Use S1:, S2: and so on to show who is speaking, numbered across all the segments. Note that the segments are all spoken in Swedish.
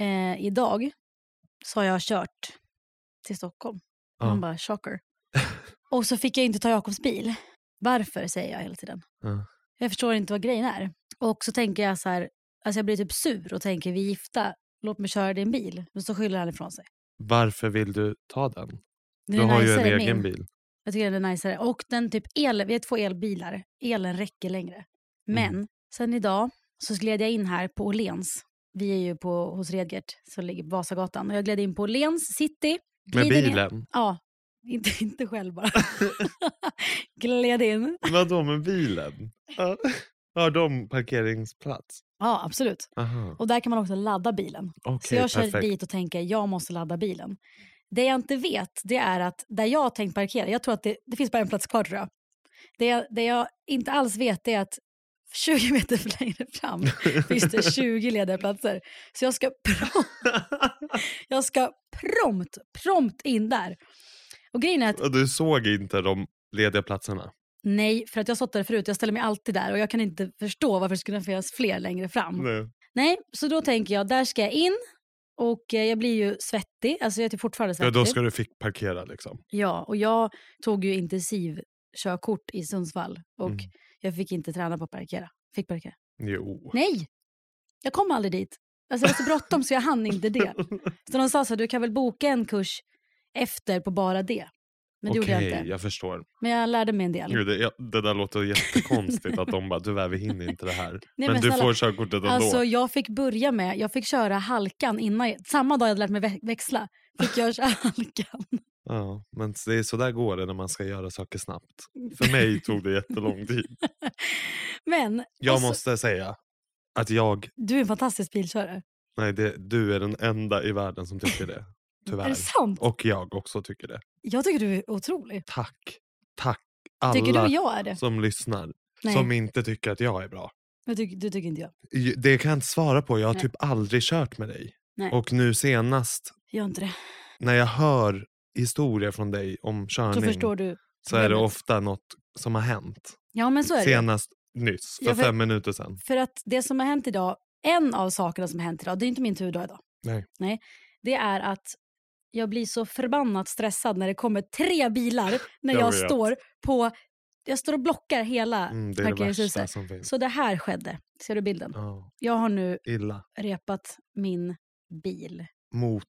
S1: Eh, idag så har jag kört till Stockholm.
S2: Ja.
S1: Man bara shocker. Och så fick jag inte ta Jakobs bil. Varför säger jag hela tiden.
S2: Ja.
S1: Jag förstår inte vad grejen är. Och så tänker jag så här, alltså jag blir typ sur och tänker vi är gifta, låt mig köra din bil. Men så skyller han ifrån sig.
S2: Varför vill du ta den?
S1: Den
S2: Du
S1: är
S2: har ju en
S1: najsare än min.
S2: egen bil.
S1: Jag tycker den är najsare. Och den typ el, vi har två elbilar. Elen räcker
S2: Mm.
S1: längre. Men sen idag så gled jag in här på Åhléns. Vi är ju på, hos Redgert som ligger på Vasagatan. Och jag gled in på Åhléns city.
S2: Med
S1: glider ner-
S2: bilen?
S1: Ja, inte, inte själv bara. gled in.
S2: Vadå med bilen? Ja. Har de parkeringsplats?
S1: Ja, absolut.
S2: Aha.
S1: Och där kan man också ladda bilen. så
S2: Okej,
S1: jag kör
S2: perfekt.
S1: dit och tänker jag måste ladda bilen. Det jag inte vet det är att där jag har tänkt parkera, jag tror att det, det finns bara en plats kvar tror jag. Det, jag. det jag inte alls vet det är att 20 meter längre fram finns det 20 lediga platser. Så jag ska, prom- jag ska prompt, prompt in där. Och grejen är att
S2: Och du såg inte de lediga platserna?
S1: nej, för att jag har stått där förut, jag ställer mig alltid där och jag kan inte förstå varför det skulle finnas fler längre fram.
S2: Nej.
S1: Nej, så då tänker jag, där ska jag in. Och eh, jag blir ju svettig, alltså jag är typ fortfarande
S2: Ja,
S1: svettig.
S2: då ska du fick parkera liksom.
S1: Ja, och jag tog ju intensivkörkort i Sundsvall och
S2: Mm.
S1: jag fick inte träna på att parkera. Fick parkera.
S2: Jo.
S1: Nej! Jag kom aldrig dit. Alltså jag var så bråttom så jag hann inte det. Så de sa så här, du kan väl boka en kurs efter på bara det. Men det gjorde
S2: Okej,
S1: jag inte.
S2: jag förstår.
S1: Men jag lärde mig en del.
S2: Gud, det, ja, det där låter jättekonstigt att de bara tyvärr vi hinner inte det här. men,
S1: men
S2: du
S1: snälla,
S2: får körkortet ändå.
S1: Alltså jag fick börja med, jag fick köra halkan innan, jag- samma dag jag hade lärt mig vä- växla fick jag köra halkan.
S2: Ja, men det är så där går det när man ska göra saker snabbt. För mig tog det jättelång tid.
S1: Men
S2: Jag
S1: och så-
S2: måste säga att jag,
S1: du är en fantastisk bilkörare.
S2: nej det, du är den enda i världen som tycker det.
S1: Är
S2: Tyvärr.
S1: det sant?
S2: Och jag också tycker det.
S1: Jag tycker du är otrolig.
S2: Tack. Tack alla
S1: Tycker du jag är det?
S2: som lyssnar
S1: Nej,
S2: som inte tycker att jag är bra.
S1: men du, du tycker inte jag.
S2: Ju- Det kan jag inte svara på. Jag har
S1: Nej.
S2: typ aldrig kört med dig.
S1: Nej.
S2: Och nu senast
S1: Gör inte det.
S2: när jag hör historier från dig om
S1: Då
S2: körning
S1: förstår du.
S2: så är det
S1: problemet.
S2: ofta något som har hänt.
S1: Ja, men så är det.
S2: Senast nyss, för
S1: Ja, för-
S2: fem minuter sedan.
S1: För att det som har hänt idag, en av sakerna som har hänt idag, det är inte min turdag idag.
S2: Nej.
S1: Nej. Det är att jag blir så förbannat stressad när det kommer tre bilar när
S2: Jag
S1: jag,
S2: vet.
S1: står på, jag står och blockar hela
S2: Mm, det är det värsta
S1: parkeringshuset.
S2: som finns.
S1: Så det här skedde. Ser du bilden?
S2: Ja,
S1: Jag har nu
S2: illa.
S1: repat min bil.
S2: Mot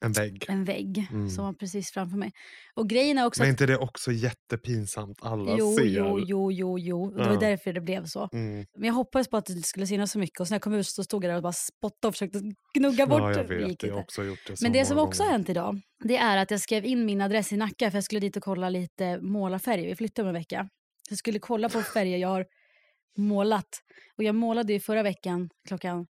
S2: en vägg.
S1: en vägg
S2: Mm.
S1: som var precis framför mig. Och grejen är också
S2: Men är
S1: att...
S2: inte det också jättepinsamt? Alla
S1: Jo,
S2: ser.
S1: jo, jo, jo, jo. Det var
S2: Ja.
S1: därför det blev så.
S2: Mm.
S1: Men jag hoppades på att det inte skulle synas så mycket och sen när jag kom ut så stod jag där och bara spottade och försökte gnugga bort.
S2: Ja, jag
S1: det gick
S2: vet. Jag har
S1: inte.
S2: också gjort det så
S1: Men det
S2: många
S1: som också har
S2: gånger.
S1: hänt idag, det är att jag skrev in min adress i Nacka för jag skulle dit och kolla lite målarfärger. Vi flyttar om en vecka. Så Jag skulle kolla på färger jag har målat. Och jag målade ju förra veckan klockan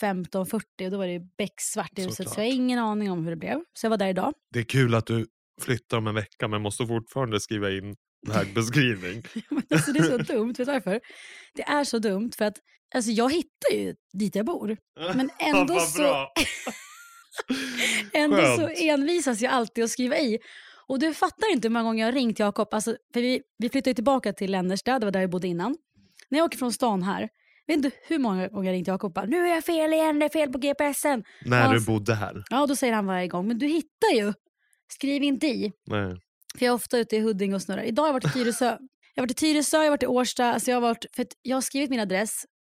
S1: 15.40 och då var det ju becksvart i huset. Så jag har
S2: Såklart.
S1: ingen aning om hur det blev. Så jag var där idag.
S2: Det är kul att du flyttar om en vecka men måste fortfarande skriva in här beskrivning.
S1: Men alltså, det är så dumt, vet du varför? Det är så dumt för att alltså, jag hittar ju dit jag bor. Men
S2: Fan,
S1: ändå
S2: vad
S1: så,
S2: bra.
S1: ändå så
S2: Skönt.
S1: envisas jag alltid att skriva i. Och du fattar inte hur många gånger jag har ringt Jakob. Alltså, för vi, vi flyttade ju tillbaka till Lännerstad, det var där jag bodde innan. När jag åker från stan här, vet inte hur många gånger jag ringt Jakob och bara, nu är jag fel igen, det är fel på GPSen.
S2: När du
S1: Alltså-
S2: bodde här.
S1: Ja, då säger han varje gång, men du hittar ju. Skriv inte i.
S2: Nej.
S1: För jag är ofta ute i Huddinge och snurrar. Idag har jag varit i Tyresö. Jag har varit i Tyresö, jag har varit i Årsta. Alltså jag, har varit, för att jag har skrivit min adress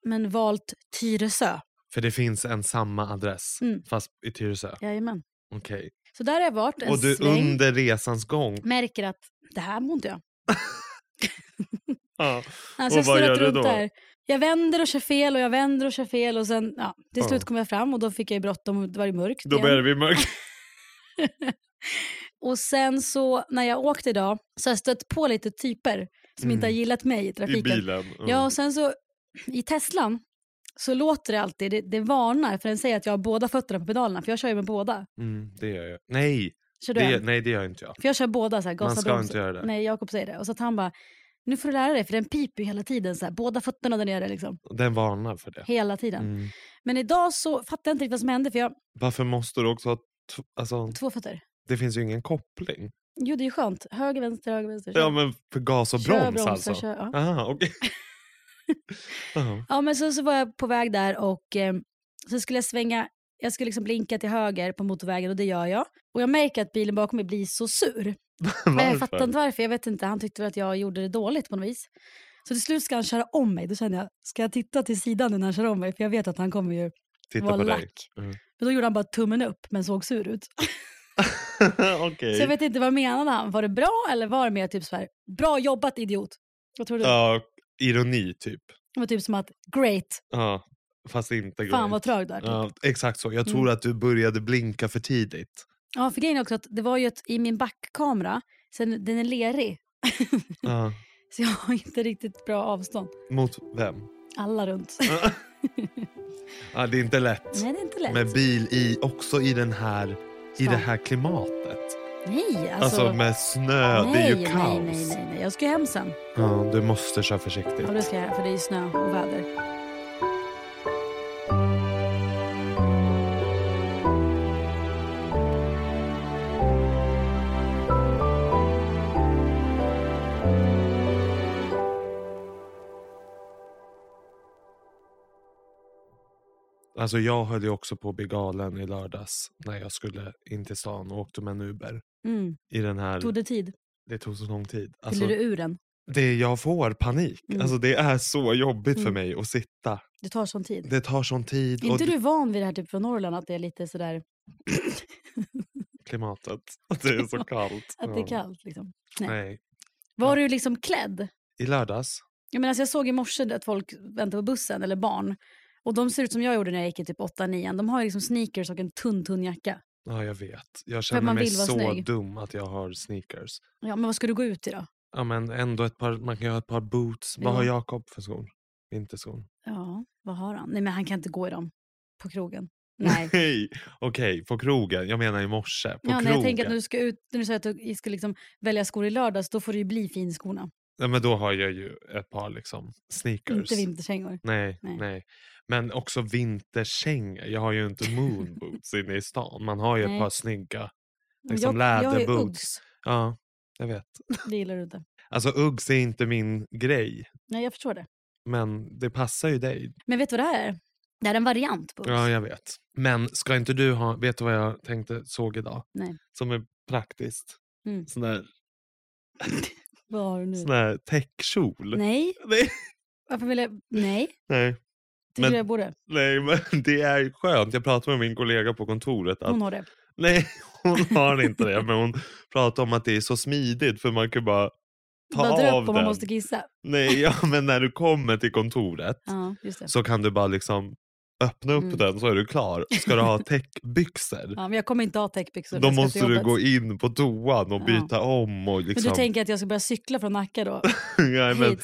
S1: men valt Tyresö.
S2: För det finns en samma adress,
S1: Mm.
S2: fast i Tyresö.
S1: Jajamän.
S2: Okej.
S1: Så där har jag varit en
S2: Och du
S1: sväng.
S2: under resans gång.
S1: Märker att det här mår inte jag.
S2: Ja.
S1: Alltså
S2: Och
S1: jag har
S2: vad
S1: snurrat
S2: gör du
S1: runt
S2: då?
S1: Där. Jag vänder och kör fel och jag vänder och kör fel och sen ja, till
S2: Ja.
S1: slut kom jag fram och då fick jag ju bråttom och det var ju mörkt
S2: Då
S1: igen.
S2: börjar vi mörkt.
S1: Och sen så när jag åkte idag så har jag stött på lite typer som inte har gillat mig i
S2: Mm. I
S1: trafiken.
S2: bilen. Mm.
S1: Ja, och sen så i Teslan så låter det alltid, det, det varnar för den säger att jag har båda fötterna på pedalerna för jag kör ju med båda.
S2: Mm, det gör jag. Nej,
S1: Kör du
S2: det,
S1: en?
S2: nej, det gör inte jag.
S1: För jag kör båda så här,
S2: Man
S1: gasa
S2: ska
S1: broms.
S2: inte göra det.
S1: Nej, Jakob säger det. Och så att han bara, nu får du lära dig för den piper ju hela tiden så här, båda fötterna där nere liksom.
S2: Den varnar för det.
S1: Hela tiden.
S2: Mm.
S1: Men idag så fattar jag inte riktigt vad som hände för jag har
S2: Varför måste du också ha... T- alltså,
S1: två fötter.
S2: det finns ju ingen koppling.
S1: Jo, det är ju skönt. Höger, vänster, höger, vänster.
S2: Ja, men för gas och
S1: Kör
S2: broms
S1: bromsar,
S2: alltså?
S1: kör- ja.
S2: Aha, okej. Jaha.
S1: Ja, men sen så var jag på väg där och eh, så skulle jag svänga, jag skulle liksom blinka till höger på motorvägen och det gör jag. Och jag märker att bilen bakom mig blir så sur. Men jag fattar inte varför, jag vet inte. Han tyckte väl att jag gjorde det dåligt på något vis. Så till slut ska han köra om mig, då känner jag, ska jag titta till sidan innan han kör om mig? För jag vet att han kommer ju
S2: Titta
S1: vara
S2: på dig. Mm.
S1: lack. Men då gjorde han bara tummen upp men såg sur ut.
S2: okej.
S1: Så jag vet inte, vad menade han? Var det bra eller var det mer typ så här, bra jobbat idiot? Vad tror du?
S2: Ja, ironi typ.
S1: Det var typ som att, great,
S2: Ja, fast inte
S1: fan
S2: great.
S1: vad Mm. trög du är. typ.
S2: Ja, exakt så. Jag tror att du började blinka för tidigt.
S1: Ja, för grejen är också att det var ju ett, i min backkamera, sen den är lerig, Mm.
S2: Ja.
S1: så jag har inte riktigt bra avstånd.
S2: Mot vem?
S1: Alla runt.
S2: Ja, det är inte lätt.
S1: Nej, det är inte lätt.
S2: Med bil i, också i, den här, i det
S1: Stan.
S2: här klimatet.
S1: Nej, alltså.
S2: Alltså, med snö,
S1: nej,
S2: det är ju
S1: nej,
S2: kaos.
S1: Nej, nej, nej. Jag ska ju hem sen.
S2: Ja, du måste köra försiktigt.
S1: Mm. Ja, det ska jag göra, för det är ju snö och väder.
S2: Alltså jag höll ju också på att bli galen i lördags när jag skulle in till stan och åkte med en Uber.
S1: Mm.
S2: I den här,
S1: Tog det tid?
S2: det tog så lång tid.
S1: Fyller
S2: Alltså,
S1: du ur den?
S2: det jag får panik.
S1: Mm.
S2: Alltså det är så jobbigt för
S1: Mm.
S2: mig att sitta.
S1: Det tar sån tid.
S2: Det tar sån tid.
S1: Är inte
S2: och
S1: du van vid det här typ från Norrland, att det är lite sådär,
S2: Klimatet. Att det är så kallt.
S1: att det
S2: Ja.
S1: är kallt liksom?
S2: Nej.
S1: Nej. Var du liksom klädd?
S2: I lördags.
S1: Jag, menar, alltså jag såg i morse att folk väntar på bussen, eller barn. Och de ser ut som jag gjorde när jag gick i typ 8-9. De har ju liksom sneakers och en tunn, tunn jacka.
S2: Ja, jag vet. Jag känner
S1: man
S2: mig
S1: vill vara
S2: så
S1: snygg.
S2: dum att jag har sneakers.
S1: Ja, men vad ska du gå ut i då?
S2: Ja, men ändå ett par, man kan ju ha ett par boots.
S1: Jo.
S2: Vad har Jakob för skor? Vinterskor.
S1: Ja, vad har han? Nej, men han kan inte gå i dem på krogen. Nej.
S2: Okej, på krogen. Jag menar i morse. På
S1: Ja,
S2: krogen.
S1: när jag tänker att när du ska ut, när du säger att du ska liksom välja skor i lördags, då får det ju bli finskorna.
S2: Nej, men då har jag ju ett par liksom sneakers.
S1: Inte vinterkängor.
S2: nej, nej.
S1: Nej.
S2: Men också vinterkängor. Jag har ju inte moonboots inne i stan. Man har ju ett
S1: Nej.
S2: par snygga.
S1: Men
S2: Liksom
S1: jag, jag är
S2: läderboots.
S1: Uggs.
S2: Ja, jag vet.
S1: Det gillar du inte.
S2: Alltså Uggs är inte min grej.
S1: Nej, jag förstår det.
S2: Men det passar ju dig.
S1: Men vet du vad det här är? Det här är en variant på Uggs.
S2: Ja, jag vet. Men ska inte du ha... Vet du vad jag tänkte såg idag?
S1: Nej.
S2: Som är praktiskt.
S1: Mm.
S2: Sån där,
S1: Vad har du nu?
S2: sån där täckkjol.
S1: Nej.
S2: Nej.
S1: Varför vill jag? Nej.
S2: Nej.
S1: Tycker
S2: Men-
S1: du jag borde?
S2: Nej, men det är ju skönt. Jag pratade med min kollega på kontoret. Att
S1: Hon har det.
S2: Nej, hon har inte det. Men hon pratar om att det är så smidigt för man kan bara
S1: Bara
S2: ta
S1: dra
S2: av
S1: upp om man
S2: den.
S1: måste kissa.
S2: Nej, ja, men när du kommer till kontoret
S1: Ja, just det.
S2: så kan du bara liksom öppna upp
S1: Mm.
S2: den så är du klar. Ska du ha täckbyxor
S1: Ja, men jag kommer inte ha täckbyxor. när
S2: då
S1: jag ska
S2: måste
S1: till
S2: du
S1: jobbet.
S2: gå in på toan och
S1: Ja.
S2: byta om. Och liksom,
S1: Men du tänker att jag ska börja cykla från Nacka då?
S2: ja, men,
S1: Hit.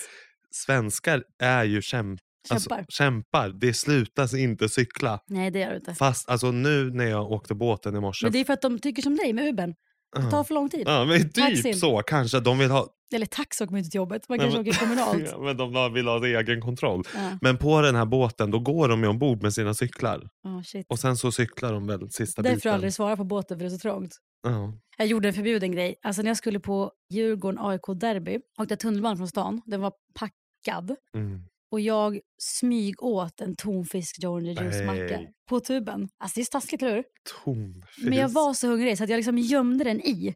S2: svenskar är ju kämp- alltså,
S1: Kämpar?
S2: kämpar. Det slutas inte cykla.
S1: Nej, det gör du inte.
S2: Fast alltså, nu när jag åkte båten i morse.
S1: Men det är för att de tycker som dig med Ubern. Det
S2: Ja.
S1: tar för lång tid.
S2: Ja, men typ
S1: Taxin.
S2: så kanske. De vill ha
S1: Eller taxi åker man inte till jobbet, man
S2: Nej,
S1: kanske
S2: men-
S1: åker kommunalt.
S2: Ja, men de la- vill ha egen kontroll.
S1: Ja.
S2: Men på den här båten, då går de ju ombord med sina cyklar.
S1: Ja, shit.
S2: Och sen så cyklar de väl sista
S1: Därför har
S2: biten.
S1: jag aldrig svarat på båten för det är så trångt.
S2: Ja.
S1: Jag gjorde en förbjuden grej. Alltså när jag skulle på Djurgården-AIK-derby åkte jag tunnelbana från stan. Den var packad.
S2: Mm.
S1: Och jag smyg åt en tonfisk Johnny Juice-macka
S2: Nej.
S1: på tuben. Alltså det är staskigt, eller hur?
S2: Tonfisk.
S1: Men jag var så hungrig så att jag liksom gömde den i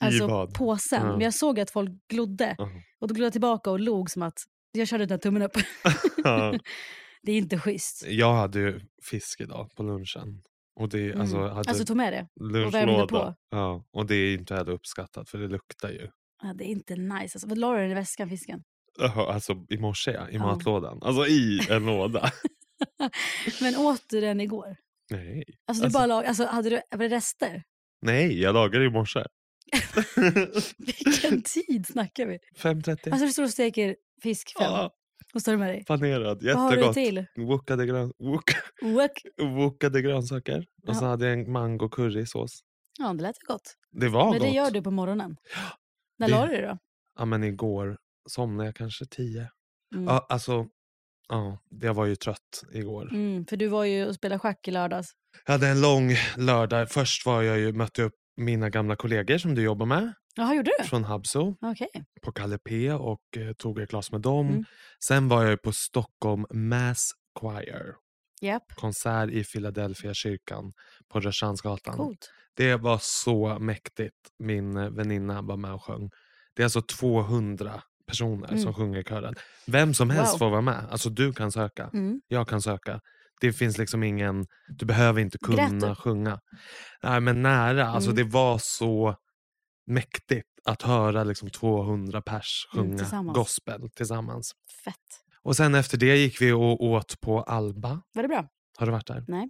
S1: alltså,
S2: vad?
S1: påsen.
S2: Ja.
S1: Men jag såg att folk glodde.
S2: Ja.
S1: Och då glodde jag tillbaka och log som att jag körde den här tummen upp.
S2: Ja.
S1: det är inte schysst.
S2: Jag hade ju fisk idag på lunchen. Och det,
S1: Mm.
S2: alltså, jag hade
S1: Alltså tog med det. värmde
S2: lunchlåda.
S1: på.
S2: Ja. Och det är inte heller uppskattat för det luktar ju.
S1: Ja, det är inte nice. Alltså, vad la du den i väskan, fisken?
S2: Jaha, Alltså i morse ja, i
S1: Ja.
S2: matlådan. Alltså i en låda.
S1: Men åt du den igår?
S2: Nej.
S1: Alltså, du
S2: Alltså-
S1: bara lag... alltså hade du var det rester?
S2: Nej, jag lagade i morse.
S1: Vilken tid snackar vi?
S2: 5.30.
S1: Alltså du står och steker fisk fem
S2: Ja,
S1: och står du med dig.
S2: panerad,
S1: Vad har du
S2: jättegott.
S1: till?
S2: Wokade, grön, wok,
S1: Wok.
S2: wokade grönsaker. Och så
S1: Ja.
S2: hade jag en mango currysås.
S1: Ja, det lät ju gott.
S2: Det var
S1: Men
S2: gott.
S1: det gör du på morgonen. När
S2: Det-
S1: la du det då?
S2: Ja, men igår somnade jag kanske tio.
S1: Mm.
S2: Ja, alltså, ja, jag var ju trött igår.
S1: Mm, för du var ju och spelade schack i lördags.
S2: Jag hade en lång lördag. Först var jag ju, mötte jag upp mina gamla kollegor som du jobbar med
S1: Jaha, gjorde du?
S2: från Habso
S1: Okej.
S2: på Kalle P och eh, tog ett glas med dem.
S1: Mm.
S2: Sen var jag ju på Stockholm Mass Choir.
S1: Japp.
S2: Konsert i Philadelphia kyrkan på Rörstrandsgatan.
S1: Coolt.
S2: Det var så mäktigt. Min eh, väninna var med och sjöng. Det är alltså 200 personer som
S1: Mm.
S2: sjunger i kören. Vem som helst
S1: Wow.
S2: får vara med. Alltså du kan söka,
S1: Mm.
S2: jag kan söka. Det finns liksom ingen, du behöver inte
S1: Grät du?
S2: kunna sjunga. Nej men nära, alltså
S1: Mm.
S2: det var så mäktigt att höra liksom 200 pers
S1: Mm,
S2: sjunga
S1: tillsammans.
S2: gospel tillsammans.
S1: Fett.
S2: Och sen efter det gick vi och åt på Alba.
S1: Var det bra?
S2: Har du varit där?
S1: Nej.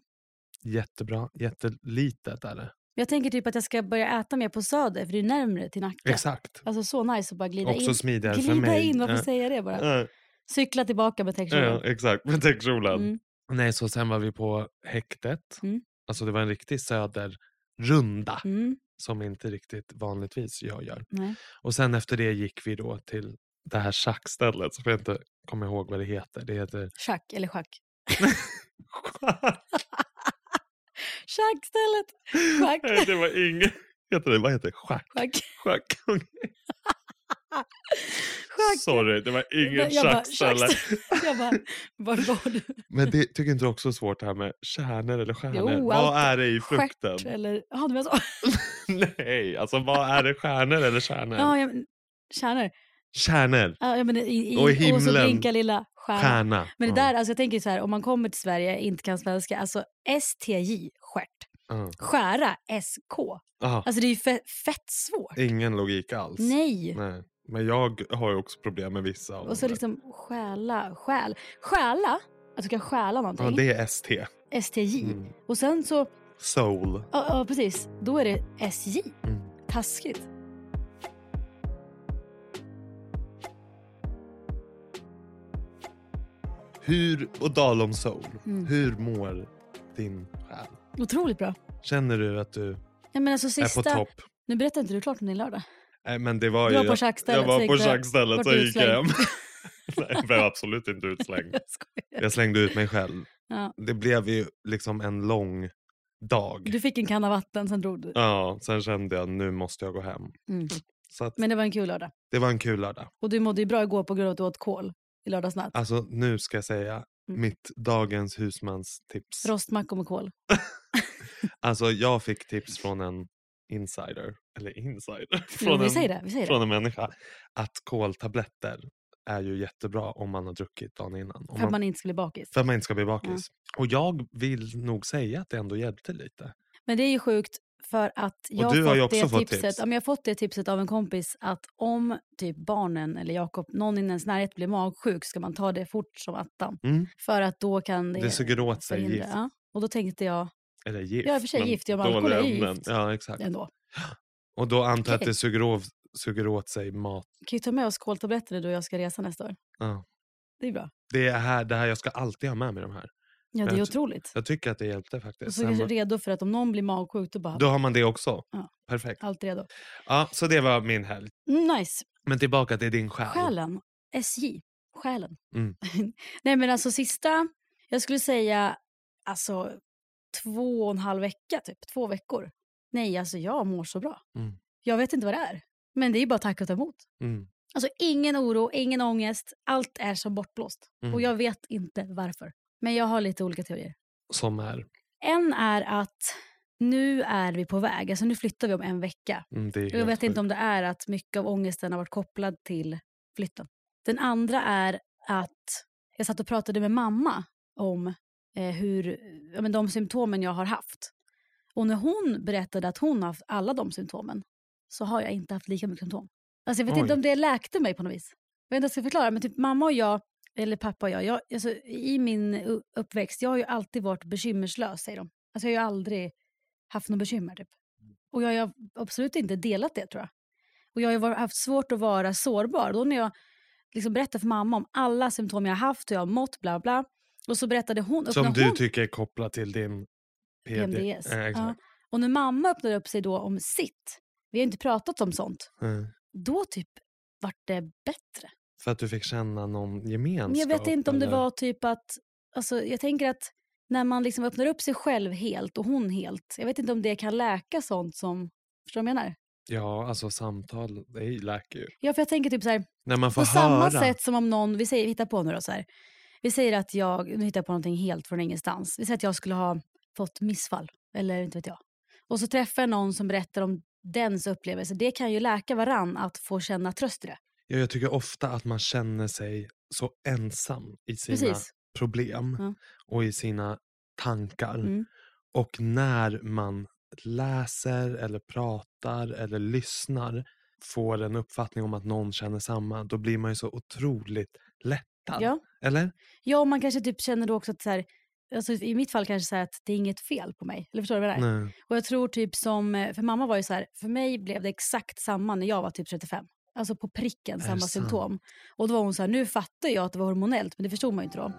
S2: Jättebra, jättelitet är det.
S1: Jag tänker typ att jag ska börja äta mer på Söder, för det är närmre till Nacka.
S2: Exakt.
S1: Alltså så nice att bara glida
S2: Också
S1: in.
S2: smidigare
S1: Glida
S2: för mig.
S1: in, varför
S2: Ja.
S1: säger jag det bara?
S2: Ja,
S1: Cykla tillbaka med
S2: ja,
S1: täckkjolen.
S2: exakt, med täckkjolen.
S1: Mm.
S2: Nej, så sen var vi på häktet.
S1: Mm.
S2: Alltså det var en riktig söderrunda
S1: Mm.
S2: som inte riktigt vanligtvis jag gör.
S1: Nej.
S2: Och sen efter det gick vi då till det här schackstället som jag inte kommer ihåg vad det heter. Det heter...
S1: Schack, eller schack. Schackstället! Schack.
S2: Nej, det var inget. Heter det, vad heter det? Schack.
S1: Schack.
S2: Schack.
S1: Schack.
S2: Sorry, det var inget
S1: Jag bara,
S2: schackställe.
S1: schackställe. Jag bara, var var du?
S2: Men det tycker inte du också är svårt det här med kärnor eller stjärnor?
S1: Jo,
S2: vad
S1: allt-
S2: är det i frukten?
S1: Stjärt eller... Ja, du menar så?
S2: Nej, alltså vad är det stjärnor eller stjärnor?
S1: Ja, jag, kärnor.
S2: Kärnor,
S1: Ja, jag menar, i, i,
S2: Och i
S1: Och så
S2: himlen.
S1: blinkar lilla stjärna.
S2: stjärna.
S1: Men det
S2: Ja,
S1: där, alltså jag tänker så här, om man kommer till Sverige inte kan svenska, alltså STJ, skärt.
S2: ja.
S1: Skära, SK.
S2: Ah,
S1: Alltså det är ju fe, fett svårt.
S2: ingen logik alls.
S1: Nej.
S2: Nej. Men jag har ju också problem med vissa. av
S1: Och så
S2: det.
S1: liksom stjäla, stjäl. Stjäla, att du kan stjäla någonting.
S2: ja, det är ST.
S1: STJ.
S2: Mm.
S1: Och sen så,
S2: Soul.
S1: ja ja, precis, då är det SJ.
S2: Mm.
S1: Taskigt.
S2: Hur, och Dalom Soul.
S1: Mm.
S2: Hur mår din själ?
S1: Otroligt bra.
S2: Känner du att du
S1: Ja, men alltså
S2: är på
S1: sista,
S2: topp?
S1: nu berättar inte du klart om din lördag.
S2: Nej, men det var
S1: Du
S2: ju...
S1: var på schackstället,
S2: jag var
S1: så
S2: på
S1: gick du-
S2: schackstället
S1: vart
S2: så
S1: du
S2: gick jag hem.
S1: utslängd.
S2: Nej, jag blev absolut inte utslängd.
S1: Jag skojar.
S2: Jag slängde ut mig själv.
S1: Ja.
S2: Det blev ju liksom en lång dag.
S1: Du fick en kanna vatten, sen drog du.
S2: Ja, sen kände jag nu måste jag gå hem.
S1: Mm.
S2: Så att,
S1: Men det var en kul lördag.
S2: det var en kul lördag.
S1: Och du mådde ju bra igår på grund av att du åt kål i lördagsnatt.
S2: Alltså nu ska jag säga
S1: Mm.
S2: mitt dagens husmans tips.
S1: Rostmackor med kål.
S2: Alltså jag fick tips från en insider, eller insider,
S1: Jo,
S2: från,
S1: vi
S2: en,
S1: säger det. Vi säger
S2: från
S1: det.
S2: en människa. Att koltabletter är ju jättebra om man har druckit dagen innan. Om
S1: För att man inte ska bli bakis.
S2: för att man inte ska bli bakis. Och jag vill nog säga att det ändå hjälpte lite.
S1: Men det är ju sjukt för att jag
S2: du har ju
S1: fått det
S2: också fått
S1: tipset,
S2: tips.
S1: Ja, men jag har fått det tipset av en kompis att om typ barnen eller Jakob, någon i ens närhet blir magsjuk ska man ta det fort som attan.
S2: Mm.
S1: För att då kan det,
S2: Det suger åt sig
S1: förhindra-
S2: gift.
S1: Ja. Och då tänkte jag
S2: Eller gift.
S1: Ja, i och för sig
S2: men
S1: gift, ja, men
S2: dåliga
S1: alkohol är ju
S2: ämnen.
S1: gift.
S2: Ja, exakt.
S1: ändå.
S2: Och då antar jag att
S1: Okej.
S2: det suger åt, suger åt sig mat.
S1: Kan ju ta med oss koltabletter när du och jag ska resa nästa år.
S2: Ja.
S1: Det är bra.
S2: Det, är här, det här jag ska alltid ha med mig de här.
S1: Ja,
S2: Jag
S1: det är
S2: tr-
S1: otroligt.
S2: Jag tycker att det hjälpte
S1: Och
S2: faktiskt.
S1: så
S2: Sen
S1: kanske
S2: var-
S1: redo för att om någon blir magsjuk, då bara
S2: då har man det också.
S1: Ja.
S2: Perfekt.
S1: allt redo.
S2: Ja, så det var min helg.
S1: Mm, nice.
S2: Men tillbaka till din själ.
S1: Själen. SJ. Själen.
S2: Mm.
S1: Nej men alltså sista, jag skulle säga alltså två och en halv vecka typ, två veckor. Nej alltså jag mår så bra.
S2: Mm.
S1: Jag vet inte vad det är. Men det är bara tack och ta emot.
S2: Mm.
S1: Alltså ingen oro, ingen ångest, allt är som bortblåst.
S2: Mm.
S1: Och jag vet inte varför. Men jag har lite olika teorier.
S2: Som är.
S1: En är att nu är vi på väg, alltså nu flyttar vi om en vecka.
S2: Mm, det är
S1: Och jag
S2: helt
S1: vet inte
S2: sjukt.
S1: om det är att mycket av ångesten har varit kopplad till flytten. Den andra är att jag satt och pratade med mamma om eh, hur, ja, men de symptomen jag har haft. Och när hon berättade att hon har haft alla de symptomen så har jag inte haft lika mycket symptom. Alltså jag vet
S2: Oj.
S1: inte om det läkte mig på något vis. Jag vet inte hur jag ska förklara, men typ mamma och jag, eller pappa och jag, jag alltså, i min u- uppväxt, jag har ju alltid varit bekymmerslös säger de. Alltså jag har ju aldrig haft något bekymmer typ.
S2: Mm.
S1: Och jag har ju absolut inte delat det tror jag. Och jag har ju var- haft svårt att vara sårbar. Då när jag liksom berättade för mamma om alla symptom jag har haft, hur jag har mått, bla bla. Och så berättade hon,
S2: Som
S1: öppnade
S2: du
S1: hon
S2: tycker är kopplat till din PD.
S1: PMDS.
S2: Eh,
S1: Ja.
S2: exakt.
S1: Och när mamma öppnade upp sig då om sitt, vi har inte pratat om sånt,
S2: Eh,
S1: då typ vart det bättre.
S2: För att du fick känna någon gemenskap.
S1: Men jag vet inte om det
S2: eller?
S1: var typ att, alltså jag tänker att när man liksom öppnar upp sig själv helt och hon helt, jag vet inte om det kan läka sånt som, förstår du vad jag menar?
S2: Ja, alltså samtal, det läker ju.
S1: Ja, för jag tänker typ så här,
S2: När man får
S1: På samma
S2: höra.
S1: sätt som om någon, vi säger, vi hittar på nu då så här. Vi säger att jag, nu hittar jag på någonting helt från ingenstans. Vi säger att jag skulle ha fått missfall, eller inte vet jag. Och så träffar jag någon som berättar om dens upplevelse. Det kan ju läka varann att få känna tröst i det.
S2: Ja, jag tycker ofta att man känner sig så ensam i sina
S1: Precis.
S2: problem
S1: Ja.
S2: och i sina tankar.
S1: Mm.
S2: Och när man läser eller pratar eller lyssnar får en uppfattning om att någon känner samma, då blir man ju så otroligt lättad.
S1: Ja.
S2: Eller?
S1: ja, och man kanske typ känner då också att så här, alltså i mitt fall kanske så här att det är inget fel på mig. Eller förstår du vad jag menar?
S2: Nej.
S1: Och jag tror typ som, eh, för mamma var ju så här, för mig blev det exakt samma när jag var typ 35. Alltså på pricken
S2: det
S1: samma
S2: sant?
S1: symptom. Och då var hon så här, nu fattar jag att det var hormonellt, men det förstod man ju inte då.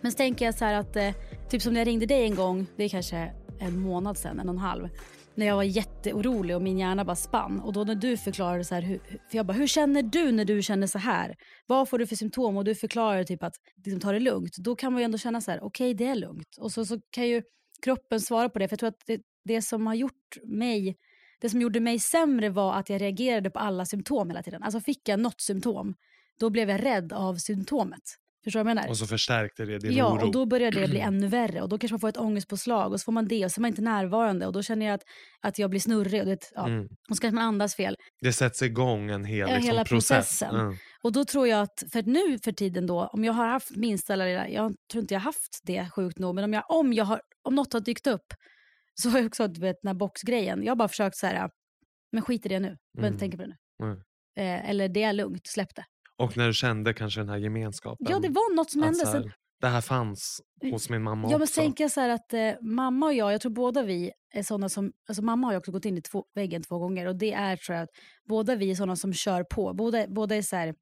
S1: Men så tänker jag så här att, eh, typ som när jag ringde dig en gång, det är kanske en månad sedan, en och en halv, när jag var jätteorolig och min hjärna bara spann. Och då när du förklarade så här, hur, för jag bara, hur känner du när du känner så här? Vad får du för symptom? Och du förklarade typ att liksom, ta det lugnt. Då kan man ju ändå känna så här, okej det är lugnt. Och så, så kan ju kroppen svara på det. För jag tror att det, det som har gjort mig det som gjorde mig sämre var att jag reagerade på alla symptom hela tiden. Alltså fick jag något symptom, då blev jag rädd av symptomet. Förstår du vad jag menar?
S2: Och så förstärkte det din
S1: ja,
S2: oro.
S1: och då börjar det bli ännu värre. Och då kanske man får ett ångestpåslag och så får man det och så är man inte närvarande. Och då känner jag att, att jag blir snurrig och, du vet, ja.
S2: Mm.
S1: och så kanske man andas fel.
S2: Det sätts igång en hel
S1: Ja,
S2: liksom,
S1: hela
S2: process.
S1: processen.
S2: Mm.
S1: Och då tror jag att, för nu för tiden då, om jag har haft minsta lilla, jag tror inte jag har haft det sjukt nog, men om, jag, om, jag har, om något har dykt upp så har jag också, du vet den här boxgrejen, jag har bara försökt så här, men skit i det nu, jag behöver
S2: Mm.
S1: inte tänka på det nu.
S2: Mm.
S1: Eh, eller det är lugnt, släpp det.
S2: Och när du kände kanske den här gemenskapen.
S1: Ja, det var något som
S2: att
S1: hände.
S2: så
S1: Sen,
S2: här, det här fanns hos min mamma
S1: Ja, men
S2: också.
S1: tänker jag så här att eh, mamma och jag, jag tror båda vi är sådana som, alltså mamma har ju också gått in i två, väggen två gånger och det är tror jag att båda vi är sådana som kör på. Båda, båda är så här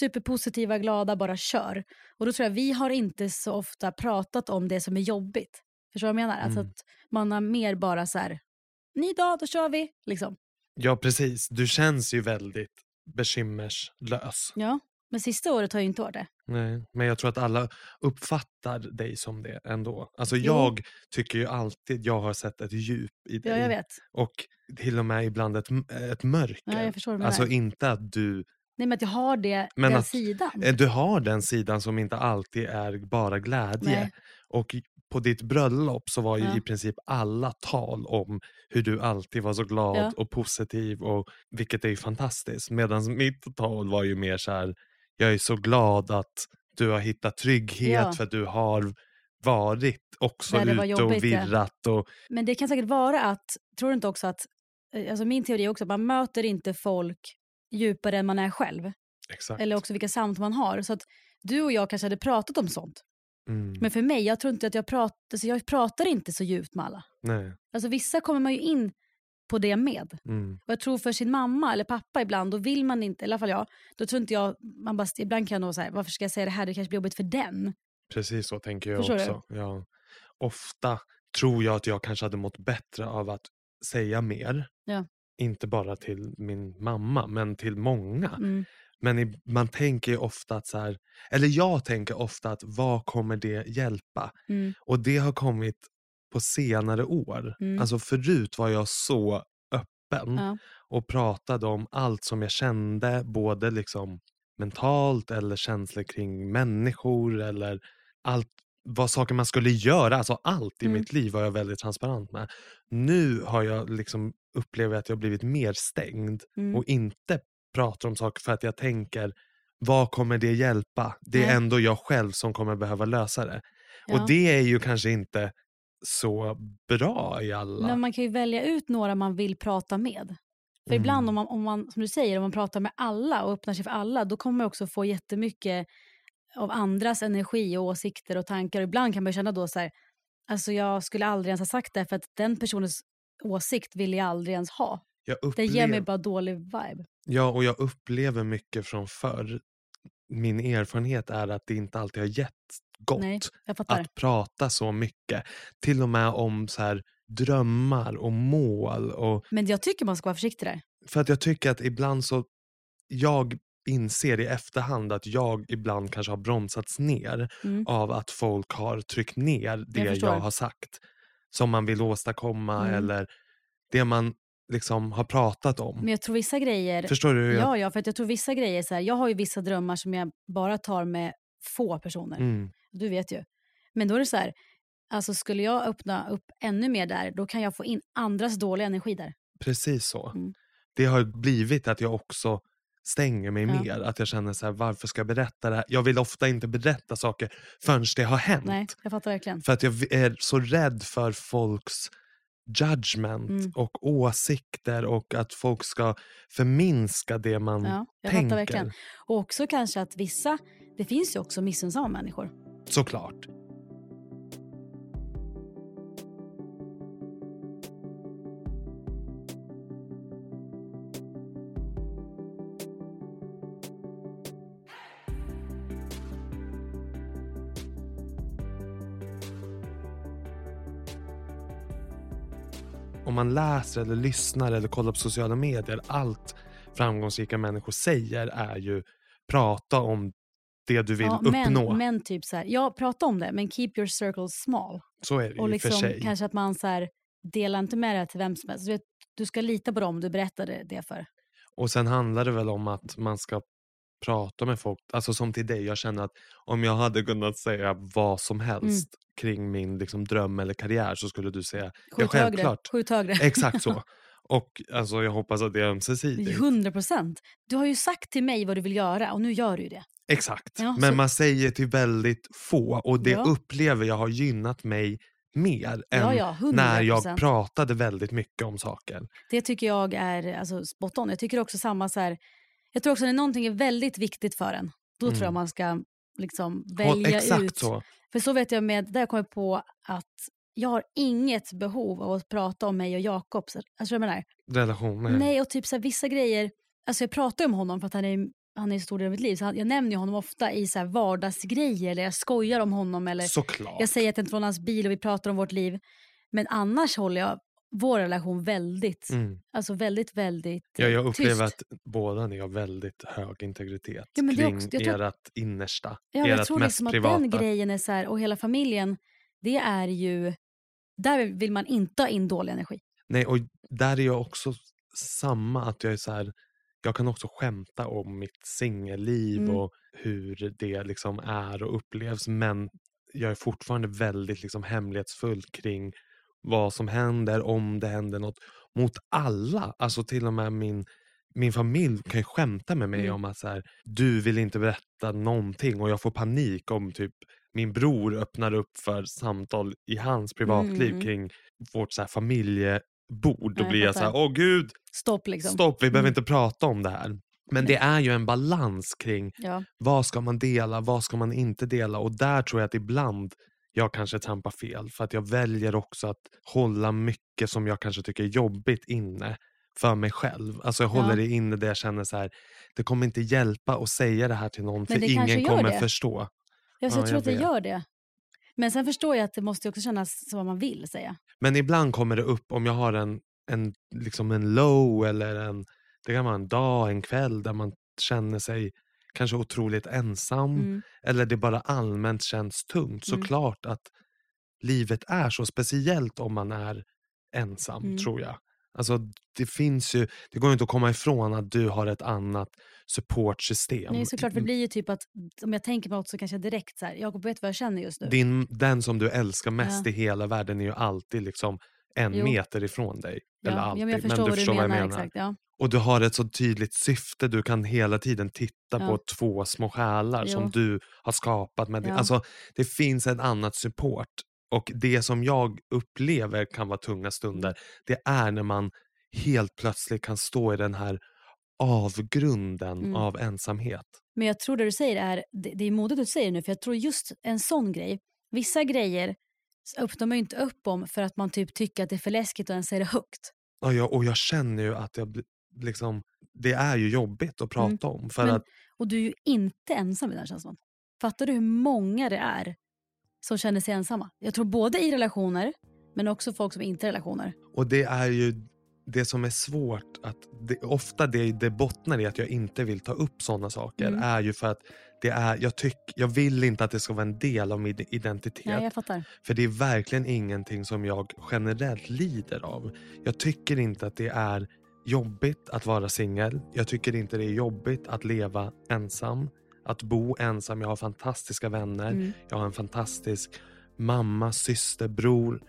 S1: superpositiva, glada, bara kör. Och då tror jag vi har inte så ofta pratat om det som är jobbigt. Förstår du vad jag menar? Alltså
S2: Mm.
S1: att man har mer bara så här, ny dag, då kör vi, liksom.
S2: Ja, precis. Du känns ju väldigt bekymmerslös.
S1: Ja. Men sista året har ju inte varit det.
S2: Nej, men jag tror att alla uppfattar dig som det ändå. Alltså
S1: Jo.
S2: jag tycker ju alltid jag har sett ett djup i dig.
S1: Ja, jag vet.
S2: Och till och med ibland ett, m- ett mörker.
S1: Ja, jag förstår vad du
S2: alltså
S1: menar.
S2: inte att du,
S1: Nej, men att jag har det,
S2: Men
S1: den
S2: att-
S1: sidan.
S2: eh, du har den sidan som inte alltid är bara glädje.
S1: Nej.
S2: Och i- på ditt bröllop så var ju
S1: Ja.
S2: i princip alla tal om hur du alltid var så glad
S1: Ja.
S2: och positiv, och, vilket är ju fantastiskt. Medan mitt tal var ju mer så här, jag är så glad att du har hittat trygghet
S1: Ja.
S2: för att du har varit också
S1: Där det var
S2: ute och
S1: jobbigt, ja.
S2: virrat. Och,
S1: Men det kan säkert vara att, tror du inte också att, eh, alltså min teori är också att man möter inte folk djupare än man är själv.
S2: exakt.
S1: Eller också vilka samtal man har. Så att du och jag kanske hade pratat om sånt.
S2: mm,
S1: Men för mig, jag tror inte att jag pratar, alltså jag pratar inte så djupt med alla.
S2: nej.
S1: Alltså vissa kommer man ju in på det med.
S2: Mm.
S1: Och jag tror för sin mamma eller pappa ibland, då vill man inte, i alla fall jag, då tror inte jag, man bara, ibland kan jag nog säga, varför ska jag säga det här, det kanske blir jobbigt för den.
S2: Precis så tänker jag
S1: Förstår du?
S2: också. Ja. Ofta tror jag att jag kanske hade mått bättre av att säga mer.
S1: Ja.
S2: Inte bara till min mamma, men till många.
S1: Mm.
S2: Men i, man tänker ju ofta att så här, eller jag tänker ofta att vad kommer det hjälpa?
S1: Mm.
S2: Och det har kommit på senare år.
S1: Mm.
S2: Alltså förut var jag så öppen
S1: Ja.
S2: och pratade om allt som jag kände, både liksom mentalt eller känslor kring människor eller allt vad saker man skulle göra, alltså allt i
S1: Mm.
S2: mitt liv var jag väldigt transparent med. Nu har jag liksom upplevt att jag blivit mer stängd
S1: Mm.
S2: och inte pratar om saker för att jag tänker vad kommer det hjälpa? Det är
S1: Nej.
S2: ändå jag själv som kommer behöva lösa det.
S1: Ja.
S2: Och det är ju kanske inte så bra i alla.
S1: Men man kan ju välja ut några man vill prata med. För
S2: Mm.
S1: ibland om man, om man, som du säger, om man pratar med alla och öppnar sig för alla, då kommer man också få jättemycket av andras energi och åsikter och tankar. Och ibland kan man ju känna då så här, alltså jag skulle aldrig ens ha sagt det för att den personens åsikt vill jag aldrig ens ha.
S2: jag
S1: Det ger mig
S2: upplev-
S1: bara dålig vibe.
S2: Ja, och jag upplever mycket från förr. Min erfarenhet är att det inte alltid har gett gott
S1: Nej, jag fattar.
S2: att prata så mycket. Till och med om så här, drömmar och mål. Och,
S1: Men jag tycker man ska vara försiktig där.
S2: för att jag tycker att ibland så... Jag inser i efterhand att jag ibland kanske har bromsats ner
S1: Mm.
S2: av att folk har tryckt ner det jag,
S1: förstår.
S2: har sagt. Som man vill åstadkomma
S1: Mm.
S2: eller det man liksom har pratat om.
S1: Men jag tror vissa grejer
S2: Förstår du hur jag...
S1: Ja, ja, för att jag tror vissa grejer, så här, jag har ju vissa drömmar som jag bara tar med få personer.
S2: Mm,
S1: Du vet ju. Men då är det så här, alltså skulle jag öppna upp ännu mer där, då kan jag få in andras dåliga energi där.
S2: precis så.
S1: Mm.
S2: det har blivit att jag också stänger mig
S1: Ja.
S2: mer. Att jag känner så här, varför ska jag berätta det här? Jag vill ofta inte berätta saker förrän det har hänt.
S1: Nej, jag fattar verkligen.
S2: För att jag v- är så rädd för folks judgment
S1: Mm.
S2: och åsikter och att folk ska förminska det man
S1: Ja, jag fattar verkligen.
S2: Mm. tänker.
S1: Och också kanske att vissa, det finns ju också missunnsamma människor.
S2: Såklart. Om man läser eller lyssnar eller kollar på sociala medier, allt framgångsrika människor säger är ju prata om det du vill
S1: ja,
S2: uppnå.
S1: Men, men typ så här, ja, prata om det, men keep your circle small.
S2: Så är det
S1: Och
S2: ju för
S1: liksom
S2: sig.
S1: kanske att man så här, delar inte med det här till vem som helst. Du, vet, du ska lita på dem du berättade det för.
S2: Och sen handlar det väl om att man ska prata med folk. Alltså som till dig, jag känner att om jag hade kunnat säga vad som
S1: Mm.
S2: helst kring min liksom, dröm eller karriär så skulle du säga ja,
S1: Skjut högre.
S2: självklart.
S1: Skjut högre.
S2: Exakt så. Och alltså, jag hoppas att det är ömsesidigt.
S1: 100 procent. Du har ju sagt till mig vad du vill göra och nu gör du ju det.
S2: Exakt.
S1: Ja,
S2: Men
S1: så-
S2: man säger till väldigt få och det
S1: Ja.
S2: upplever jag har gynnat mig mer än
S1: Ja, ja, 100%.
S2: när jag pratade väldigt mycket om saker.
S1: Det tycker jag är alltså, spot on. Jag tycker också samma så här, jag tror också när någonting är väldigt viktigt för en, då tror jag man ska liksom välja
S2: och Mm. exakt
S1: ut.
S2: så.
S1: För så vet jag med, där kom jag på att jag har inget behov av att prata om mig och Jakob. Så- Alltså jag menar,
S2: Relationer.
S1: nej och typ så här, vissa grejer, alltså jag pratar ju om honom för att han är han är en stor del av mitt liv, så han- jag nämner ju honom ofta i så här vardagsgrejer, eller jag skojar om honom, eller
S2: Såklart.
S1: Jag säger att jag inte var hans bil och vi pratar om vårt liv. Men annars håller jag vår relation väldigt,
S2: Mm.
S1: alltså väldigt, väldigt
S2: Ja,
S1: eh,
S2: jag
S1: tyst.
S2: upplever att båda ni har väldigt hög integritet
S1: Ja, men det är
S2: kring
S1: också- jag tror-
S2: ert innersta,
S1: ja,
S2: ert
S1: jag tror
S2: mest
S1: liksom att
S2: privata.
S1: den grejen är så här, och hela familjen, det är ju, där vill man inte ha in dålig energi.
S2: Nej, och där är jag också s- samma, att jag är så här, jag kan också skämta om mitt singelliv
S1: Mm.
S2: och hur det liksom är och upplevs, men jag är fortfarande väldigt liksom hemlighetsfull kring vad som händer, om det händer något, mot alla. Alltså till och med min, min familj kan ju skämta med mig
S1: Mm.
S2: om att så här, du vill inte berätta någonting och jag får panik om typ min bror öppnar upp för samtal i hans privatliv
S1: mm.
S2: kring vårt så här familjebord. Då
S1: Ja, jag
S2: blir jag så
S1: fattar.
S2: här, åh gud,
S1: Stopp liksom.
S2: stopp, vi behöver
S1: Mm.
S2: inte prata om det här. Men det är ju en balans kring
S1: Ja.
S2: vad ska man dela, vad ska man inte dela och där tror jag att ibland jag kanske trampar fel. För att jag väljer också att hålla mycket som jag kanske tycker är jobbigt inne för mig själv. Alltså jag
S1: Ja.
S2: håller det inne där jag känner så här, det kommer inte hjälpa att säga det här till någon
S1: det
S2: för
S1: kanske
S2: ingen
S1: gör
S2: kommer
S1: det.
S2: förstå.
S1: Jag, så
S2: Ja,
S1: jag tror
S2: jag
S1: att det
S2: vet.
S1: gör det. Men sen förstår jag att det måste ju också kännas som vad man vill säga.
S2: Men ibland kommer det upp om jag har en, en, liksom en low eller en, det kan vara en dag, en kväll där man känner sig kanske otroligt ensam
S1: Mm.
S2: eller det bara allmänt känns tungt.
S1: Mm.
S2: Såklart att livet är så, speciellt om man är ensam
S1: Mm.
S2: tror jag. Alltså det finns ju, det går ju inte att komma ifrån att du har ett annat supportsystem.
S1: Nej, såklart,
S2: mm.
S1: för det blir ju typ att om jag tänker på något så kanske jag direkt så här, Jakob vet vad jag känner just nu.
S2: Din, den som du älskar mest
S1: Typ. Ja.
S2: i hela världen är ju alltid liksom en
S1: Jo.
S2: meter ifrån dig.
S1: ja,
S2: eller
S1: ja,
S2: alltid,
S1: men jag förstår
S2: du
S1: vad du
S2: förstår
S1: menar.
S2: vad jag menar.
S1: Exakt, ja.
S2: Och du har ett så tydligt syfte. Du kan hela tiden titta på
S1: Ja.
S2: två små själar som
S1: Jo.
S2: du har skapat. Med din.
S1: Ja.
S2: Alltså, det finns ett annat support. Och det som jag upplever kan vara tunga
S1: Mm.
S2: stunder, det är när man helt plötsligt kan stå i den här avgrunden
S1: Mm.
S2: av ensamhet.
S1: Men jag tror det du säger är, det, det är modigt att du säger nu, för jag tror just en sån grej, vissa grejer öppnar man ju inte upp om för att man typ tycker att det är för läskigt och ens säger det högt.
S2: Ja, jag, och jag känner ju att jag bli- liksom, det är ju jobbigt att
S1: Mm.
S2: prata om. För
S1: Men-
S2: att
S1: Och du är ju inte ensam i den här känslan. Fattar du hur många det är som känner sig ensamma? Jag tror både i relationer, men också folk som inte är i relationer.
S2: Och det är ju det som är svårt, att det, ofta det det bottnar i att jag inte vill ta upp sådana saker
S1: Mm.
S2: är ju för att det är, jag, tyck, jag vill inte att det ska vara en del av min identitet.
S1: Nej, jag fattar.
S2: För det är verkligen ingenting som jag generellt lider av. Jag tycker inte att det är jobbigt att vara singel. Jag tycker inte det är jobbigt att leva ensam, att bo ensam. Jag har fantastiska vänner.
S1: Mm.
S2: Jag har en fantastisk mamma, syster, bror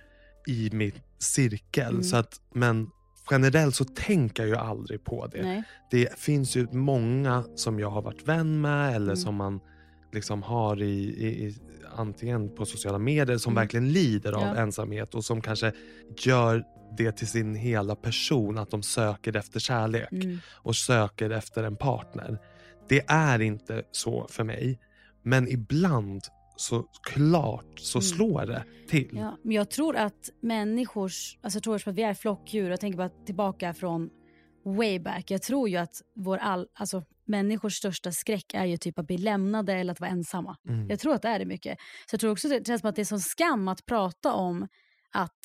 S2: i min cirkel.
S1: Mm.
S2: Så att, men generellt så tänker jag ju aldrig på det.
S1: Nej.
S2: Det finns ju många som jag har varit vän med eller
S1: Mm.
S2: som man liksom har i, i, i antingen på sociala medier som
S1: Mm.
S2: verkligen lider av
S1: Ja.
S2: ensamhet och som kanske gör det till sin hela person att de söker efter kärlek
S1: Mm.
S2: och söker efter en partner. Det är inte så för mig. Men ibland så klart så
S1: Mm.
S2: slår det till.
S1: Ja, men jag tror att människors, alltså jag tror också att vi är flockdjur, jag tänker bara tillbaka från way back. Jag tror ju att vår all, alltså, människors största skräck är ju typ att bli lämnade eller att vara ensamma.
S2: Mm.
S1: Jag tror att det är det mycket. Så jag tror också att det känns som att det är sån skam att prata om att,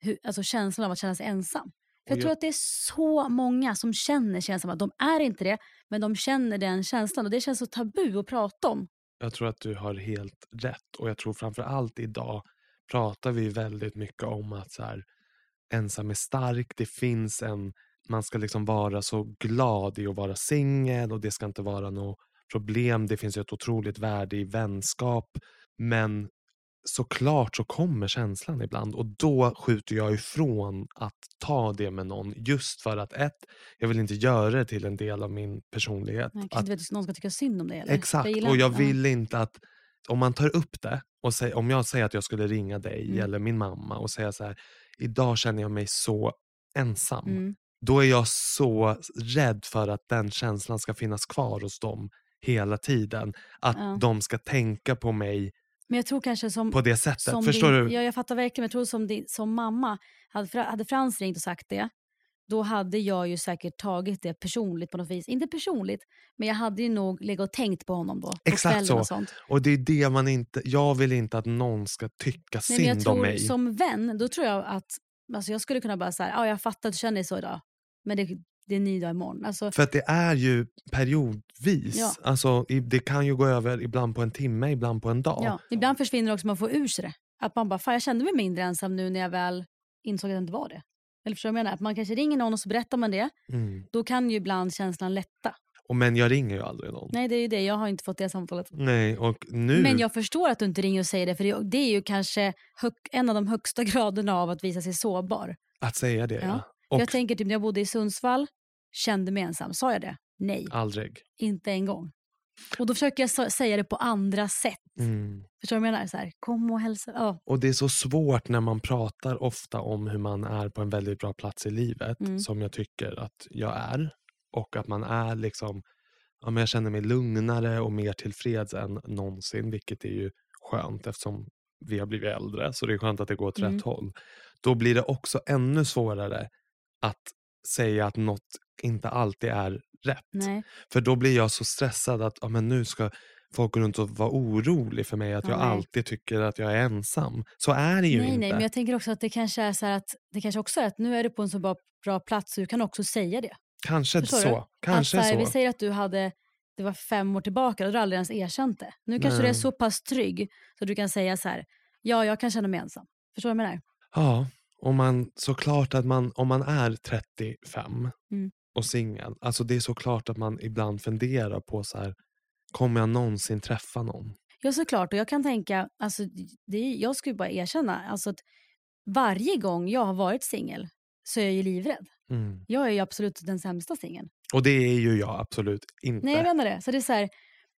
S1: hur, alltså känslan av att känna sig ensam. För jag,
S2: Och jag-
S1: tror att det är så många som känner sig ensamma. De är inte det, men de känner den känslan och det känns så tabu att prata om.
S2: Jag tror att du har helt rätt och jag tror framför allt idag pratar vi väldigt mycket om att så här, ensam är stark, det finns en, man ska liksom vara så glad i att vara singel och det ska inte vara något problem, det finns ju ett otroligt värde i vänskap men såklart så kommer känslan ibland och då skjuter jag ifrån att ta det med någon just för att ett, jag vill inte göra det till en del av min personlighet.
S1: Jag kanske
S2: att
S1: inte vet om någon ska tycka synd om det. Eller?
S2: Exakt,
S1: gillar
S2: och
S1: inte-
S2: jag
S1: ja.
S2: vill inte att om man tar upp det och säger, om jag säger att jag skulle ringa dig
S1: Mm.
S2: eller min mamma och säga så här, idag känner jag mig så ensam.
S1: Mm.
S2: Då är jag så rädd för att den känslan ska finnas kvar hos dem hela tiden. Att
S1: Ja.
S2: de ska tänka på mig
S1: Men jag tror kanske som...
S2: på det sättet.
S1: som
S2: Förstår
S1: din,
S2: du?
S1: Ja, jag fattar verkligen. Men jag tror som, din, som mamma, hade, Fra- hade Frans ringt och sagt det, då hade jag ju säkert tagit det personligt på något vis. Inte personligt, men jag hade ju nog legat och tänkt på honom då. på
S2: Exakt
S1: kvällen
S2: så.
S1: Och sånt.
S2: Och det är det man inte, jag vill inte att någon ska tycka
S1: Nej, men jag
S2: synd om
S1: tror,
S2: mig.
S1: Som vän, då tror jag att alltså jag skulle kunna bara säga, ja jag fattar att du känner dig så idag, men det, det är en ny dag imorgon. Alltså,
S2: För att det är ju periodvis.
S1: Ja.
S2: Alltså, i- det kan ju gå över ibland på en timme, ibland på en dag.
S1: ja. Ibland försvinner det också, man får ur sig det. Att man bara, fan jag kände mig mindre ensam nu när jag väl insåg att jag inte var det. Eller förstår du vad jag menar? Att man kanske ringer någon och så berättar man det.
S2: Mm.
S1: Då kan ju ibland känslan lätta.
S2: Och, men jag ringer ju aldrig någon.
S1: Nej, det är ju det. Jag har inte fått det samtalet.
S2: Nej, och nu...
S1: Men jag förstår att du inte ringer och säger det, för det- det är ju kanske hög, en av de högsta graderna av att visa sig sårbar.
S2: Att säga det, ja.
S1: Ja.
S2: Och
S1: Jag tänker typ när jag bodde i Sundsvall, kände mig ensam. Sa jag det? Nej,
S2: aldrig.
S1: inte en gång. Och då försöker jag sa- säga det på andra sätt.
S2: Mm.
S1: Förstår du vad jag menar? Så här, kom och hälsa. Ja,
S2: Och det är så svårt när man pratar ofta om hur man är på en väldigt bra plats i livet,
S1: Mm.
S2: som jag tycker att jag är. Och att man är liksom... Ja, men jag känner mig lugnare och mer tillfreds än någonsin, vilket är ju skönt eftersom vi har blivit äldre, så det är skönt att det går åt
S1: Mm.
S2: rätt håll. Då blir det också ännu svårare att säga att något inte alltid är rätt.
S1: Nej.
S2: För då blir jag så stressad att ja, men nu ska folk gå runt och vara orolig för mig, att
S1: Ja,
S2: jag
S1: nej.
S2: alltid tycker att jag är ensam. Så är det ju
S1: nej,
S2: inte.
S1: nej, men jag tänker också att det kanske är så här att det kanske också är att nu är du på en så bra, bra plats så du kan också säga det.
S2: Kanske
S1: Förstår
S2: så. Kanske
S1: att, så här, Vi
S2: så.
S1: säger att du hade, det var fem år tillbaka och du har aldrig ens erkänt det. Nu kanske du är
S2: Nej.
S1: så pass trygg så du kan säga så här, ja jag kan känna mig ensam. Förstår du vad jag menar?
S2: Ja, och man, såklart att man, om man är 35
S1: Mm.
S2: och singel, alltså det är såklart att man ibland funderar på så här, kommer jag någonsin träffa någon?
S1: Ja såklart och jag kan tänka, alltså, det är, jag skulle bara erkänna, alltså att varje gång jag har varit singel så är jag ju livrädd.
S2: Mm.
S1: Jag är ju absolut den sämsta singeln.
S2: Och det är ju jag absolut inte.
S1: Nej jag menar det. Så det är så här,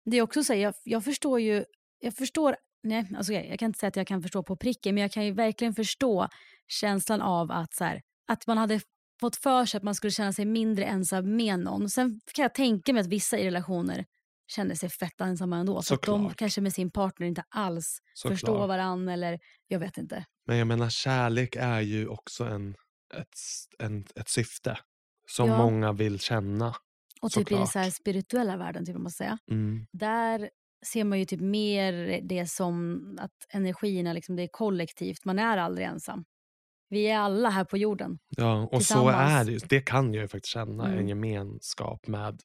S1: det är också så här, jag, jag förstår ju, jag förstår, nej alltså jag, jag kan inte säga att jag kan förstå på pricken men jag kan ju verkligen förstå känslan av att så här, att man hade fått för sig att man skulle känna sig mindre ensam med någon. Sen kan jag tänka mig att vissa i relationer känner sig fett ensamma ändå. Så att de
S2: Såklart.
S1: kanske med sin partner inte alls
S2: Såklart.
S1: förstår varandra eller jag vet inte.
S2: Men jag menar kärlek är ju också en, ett, s- en, ett syfte som
S1: Ja.
S2: många vill känna.
S1: Och typ i den
S2: Såklart.
S1: så här spirituella världen, typ, om man ska säga.
S2: Mm.
S1: där ser man ju typ mer det som att energierna liksom, det är kollektivt. Man är aldrig ensam. Vi är alla här på jorden.
S2: Ja, och så är
S1: Tillsammans.
S2: det ju. Det kan jag ju faktiskt känna,
S1: Mm.
S2: en gemenskap med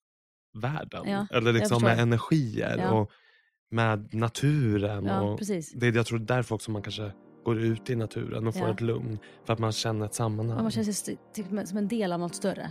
S2: världen.
S1: Ja,
S2: Eller liksom
S1: förstår.
S2: med energier
S1: Ja.
S2: och med naturen.
S1: Ja,
S2: och
S1: precis.
S2: det, jag tror det är därför också man kanske går ut i naturen och får
S1: Ja.
S2: ett lugn. För att man känner ett sammanhang.
S1: Och man känner sig st- typ som en del av något större.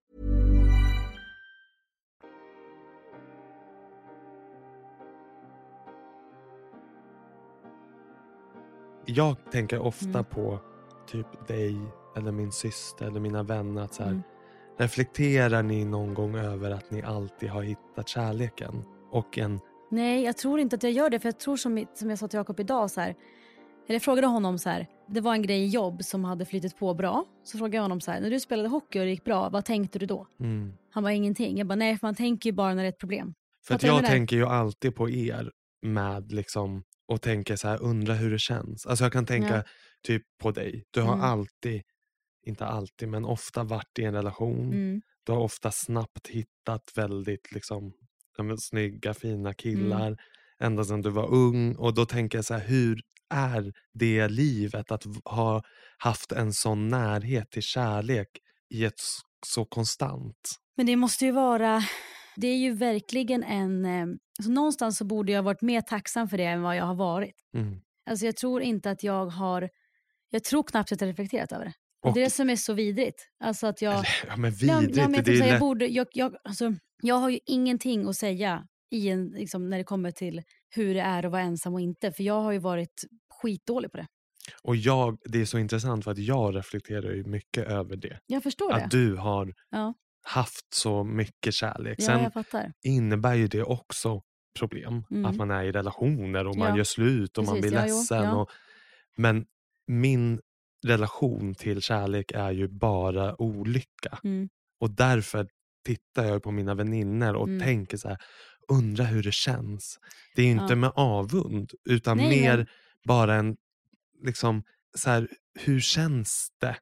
S2: Jag tänker ofta
S1: Mm.
S2: på typ dig eller min syster eller mina vänner. Att så här,
S1: Mm.
S2: Reflekterar ni någon gång över att ni alltid har hittat kärleken? Och en
S1: Nej, jag tror inte att jag gör det. För jag tror som, som jag sa till Jakob idag, så här, eller jag frågade honom så här, det var en grej i jobb som hade flyttat på bra. Så frågade jag honom så här, när du spelade hockey och det gick bra, vad tänkte du då?
S2: mm,
S1: Han var ingenting. Jag bara, nej, för man tänker ju bara när det är ett problem.
S2: För att
S1: Fattar du vad jag
S2: jag
S1: menar?
S2: tänker ju alltid på er med liksom och tänker så här, undra hur det känns. Alltså jag kan tänka
S1: Ja.
S2: typ på dig. Du har
S1: Mm.
S2: alltid, inte alltid, men ofta varit i en relation.
S1: Mm.
S2: Du har ofta snabbt hittat väldigt liksom ja, men, snygga,
S1: Mm.
S2: fina killar ända sedan du var ung. Och då tänker jag så här, hur är det livet att v- ha haft en sån närhet till kärlek i ett s- så konstant?
S1: Men det måste ju vara, det är ju verkligen en, eh, alltså någonstans så borde jag ha varit mer tacksam för det än vad jag har varit.
S2: Mm.
S1: Alltså jag tror inte att jag har, jag tror knappt att jag har reflekterat över det. Och
S2: Och-
S1: det är det som är så vidrigt. Alltså att jag,
S2: Eller,
S1: Ja,
S2: ja, men
S1: men-
S2: vidrigt.
S1: ja, men jag, tänkte
S2: det är
S1: säga, jag,
S2: lätt-
S1: borde, jag, jag, alltså, jag har ju ingenting att säga i en, liksom, när det kommer till hur det är att vara ensam och inte. För jag har ju varit skitdålig på det.
S2: Och jag, det är så intressant för att jag reflekterar ju mycket över det.
S1: Jag förstår det.
S2: Att du har
S1: Ja.
S2: haft så mycket kärlek.
S1: Ja,
S2: Sen
S1: jag fattar.
S2: innebär ju det också problem.
S1: Mm.
S2: Att man är i relationer och man
S1: Ja,
S2: gör slut och man
S1: precis.
S2: blir
S1: Ja, jo,
S2: ledsen.
S1: ja.
S2: Och, men min relation till kärlek är ju bara olycka.
S1: Mm.
S2: Och därför tittar jag på mina väninnor och
S1: Mm.
S2: tänker så här, undra hur det känns. Det är ju inte
S1: Ja.
S2: med avund, utan
S1: Nej,
S2: mer
S1: men-
S2: bara en, liksom, så här, hur känns det?
S1: Om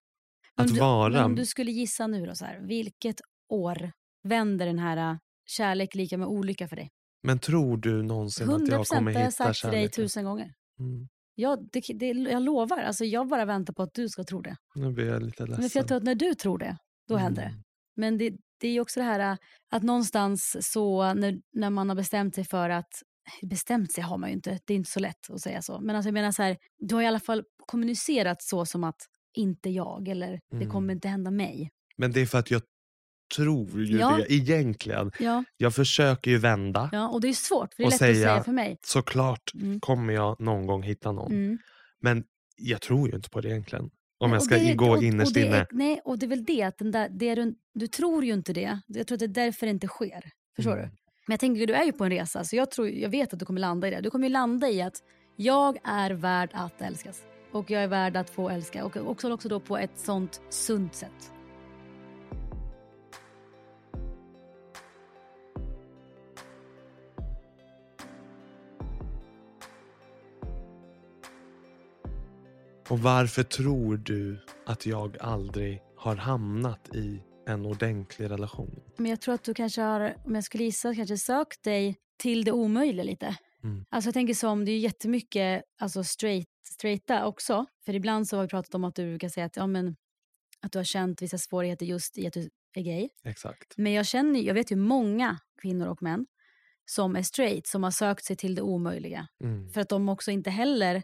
S2: Att
S1: du,
S2: vara-
S1: men Om du skulle gissa nu då, så här, vilket år vänder den här ä, kärlek lika med olycka för dig?
S2: Men tror du någonsin att
S1: 100
S2: jag kommer
S1: procent har jag
S2: hitta
S1: sagt till dig
S2: kärleken?
S1: tusen gånger.
S2: Mm.
S1: Jag, det, det, jag lovar, alltså jag bara väntar på att du ska tro det.
S2: Nu blir jag lite ledsen.
S1: Men för jag tror att när du tror det, då händer det.
S2: Mm.
S1: Men det, det är ju också det här äh, att någonstans så när, när man har bestämt sig för att, bestämt sig har man ju inte, det är inte så lätt att säga så. Men alltså jag menar så här, du har i alla fall kommunicerat så som att inte jag eller det
S2: Mm.
S1: kommer inte hända mig.
S2: Men det är för att jag tror ju
S1: Ja.
S2: det egentligen.
S1: Ja,
S2: Jag försöker ju vända.
S1: ja och det är svårt, för det är
S2: Och
S1: lätt
S2: säga-
S1: att säga för mig.
S2: Såklart
S1: Mm.
S2: kommer jag någon gång hitta någon.
S1: Mm.
S2: Men jag tror ju inte på det egentligen. Om jag
S1: Och
S2: ska
S1: det är-
S2: gå
S1: och- och
S2: innerst
S1: det är-
S2: inne.
S1: Nej, och det är väl det att den där, det du, du tror ju inte det. Jag tror att det är därför det inte sker. Förstår
S2: Mm.
S1: du? Men jag tänker, du är ju på en resa, så jag, tror, jag vet att du kommer landa i det. Du kommer ju landa i att jag är värd att älskas. Och jag är värd att få älska. Och också, också då på ett sånt sunt sätt.
S2: Och varför tror du att jag aldrig har hamnat i en ordentlig relation?
S1: Men jag tror att du kanske har, om jag skulle gissa, kanske sökt dig till det omöjliga lite.
S2: Mm.
S1: Alltså jag tänker som, det är ju jättemycket alltså straight, straighta också. För ibland så har vi pratat om att du brukar säga att, ja, men, att du har känt vissa svårigheter just i att du är gay.
S2: Exakt.
S1: Men jag känner ju- jag vet ju många kvinnor och män som är straight som har sökt sig till det omöjliga.
S2: Mm.
S1: För att de också inte heller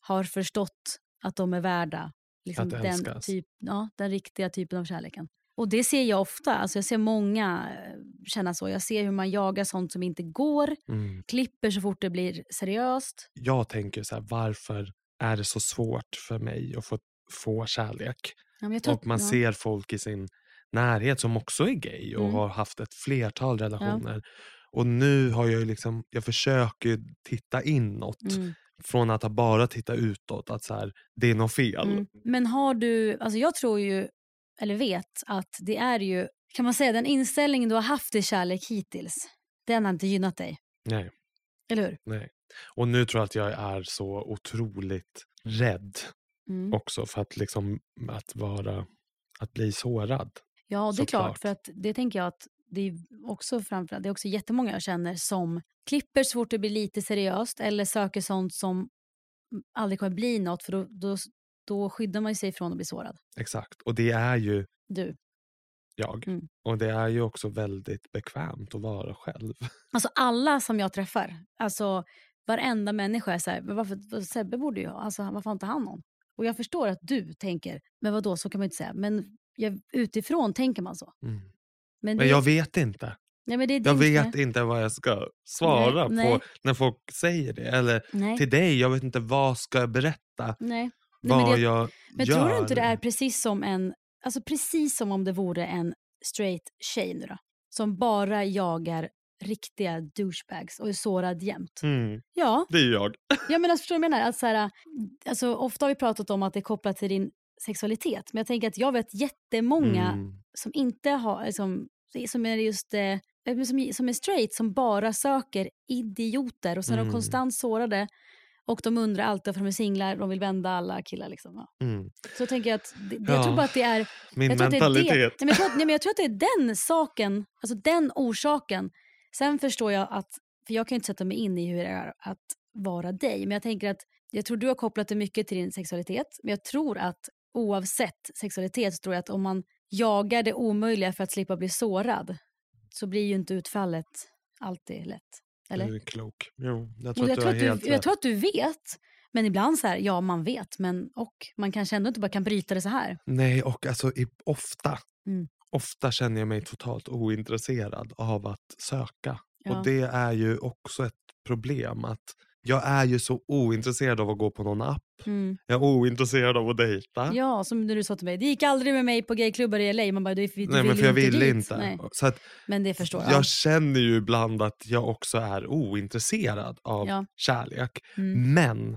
S1: har förstått att de är värda liksom,
S2: Att
S1: den,
S2: älskas.
S1: typ, ja, den riktiga typen av kärleken. Och det ser jag ofta. Alltså, jag ser många eh, känna så. Jag ser hur man jagar sånt som inte går,
S2: Mm.
S1: klipper så fort det blir seriöst.
S2: Jag tänker så här, varför är det så svårt för mig att få, få kärlek?
S1: Ja, men jag tror
S2: Och
S1: att-
S2: man
S1: ja.
S2: ser folk i sin närhet som också är gay och
S1: Mm.
S2: har haft ett flertal relationer. Och nu har jag ju liksom, jag försöker ju titta inåt.
S1: Mm,
S2: Från att ha bara tittat utåt, att så här, det är något fel.
S1: mm. Men har du, alltså jag tror ju, eller vet att det är ju, kan man säga den inställningen du har haft i kärlek hittills, den har inte gynnat dig,
S2: Nej,
S1: eller hur?
S2: nej. Och nu tror jag att jag är så otroligt rädd
S1: Mm.
S2: också för att, liksom, att, vara, att bli sårad.
S1: Ja, och det är klart.
S2: Såklart.
S1: För att det tänker jag att det är också framförallt, det är också jättemånga jag känner som klipper så fort det blir lite seriöst eller söker sånt som aldrig kommer bli något för då, då, då skyddar man ju sig från att bli sårad.
S2: Exakt. Och det är ju
S1: Du.
S2: jag.
S1: Mm.
S2: Och det är ju också väldigt bekvämt att vara själv.
S1: Alltså alla som jag träffar, alltså varenda människa är så här, "Men varför, Sebbe borde ju ha, alltså varför har inte han någon? Och jag förstår att du tänker, men vad då så kan man ju inte säga, men jag, utifrån tänker man så.
S2: Mm.
S1: Men, det,
S2: Men jag vet inte.
S1: nej, men det är
S2: Jag
S1: din-
S2: vet inte vad jag ska svara på
S1: nej.
S2: när folk säger det. Eller
S1: Nej,
S2: till dig, jag vet inte vad ska jag berätta.
S1: nej. Nej, men
S2: Vad
S1: det-
S2: jag
S1: Men
S2: gör.
S1: tror du inte det är precis som en, alltså precis som om det vore en straight tjej nu då, som bara jagar riktiga douchebags och är sårad jämt?
S2: Mm,
S1: Ja,
S2: det är jag.
S1: jag menar, förstår du vad jag menar? Att så här, alltså, ofta har vi pratat om att det är kopplat till din sexualitet, men jag tänker att jag vet jättemånga
S2: Mm,
S1: som inte har, som, som är just eh, men som, som är straight, som bara söker idioter och sen är de
S2: Mm.
S1: konstant sårade och de undrar alltid varför de är singlar, de vill vända alla killar liksom. Ja.
S2: mm.
S1: Så tänker jag att, det, det-
S2: Ja,
S1: jag tror bara att det är...
S2: Min
S1: jag tror att det är det, nej,
S2: mentalitet.
S1: men jag, tror, att- nej, men jag tror att det är den saken, alltså den orsaken. Sen förstår jag att, för jag kan ju inte sätta mig in i hur det är att vara dig, men jag tänker att jag tror du har kopplat det mycket till din sexualitet, men jag tror att oavsett sexualitet så tror jag att om man jagar det omöjliga för att slippa bli sårad så blir ju inte utfallet alltid lätt. Eller?
S2: Du är klok. Jo, jag tror
S1: Och jag,
S2: att du
S1: tror
S2: har
S1: att du,
S2: helt
S1: jag
S2: rätt.
S1: tror att du vet, men ibland så här, ja man vet, men och man kanske ändå inte bara kan bryta det så här.
S2: Nej, och alltså i, ofta,
S1: Mm.
S2: ofta känner jag mig totalt ointresserad av att söka.
S1: Ja.
S2: Och det är ju också ett problem att jag är ju så ointresserad av att gå på någon app.
S1: Mm.
S2: Jag är ointresserad av att dejta.
S1: Ja, som när du sa till mig, det gick aldrig med mig på gayklubbar i LA. Man bara, du, du
S2: Nej,
S1: vill
S2: men för jag
S1: ju
S2: vill
S1: dit.
S2: inte.
S1: Nej.
S2: Så att
S1: Men det förstår jag.
S2: jag känner ju ibland att jag också är ointresserad av
S1: Ja.
S2: kärlek.
S1: Mm.
S2: Men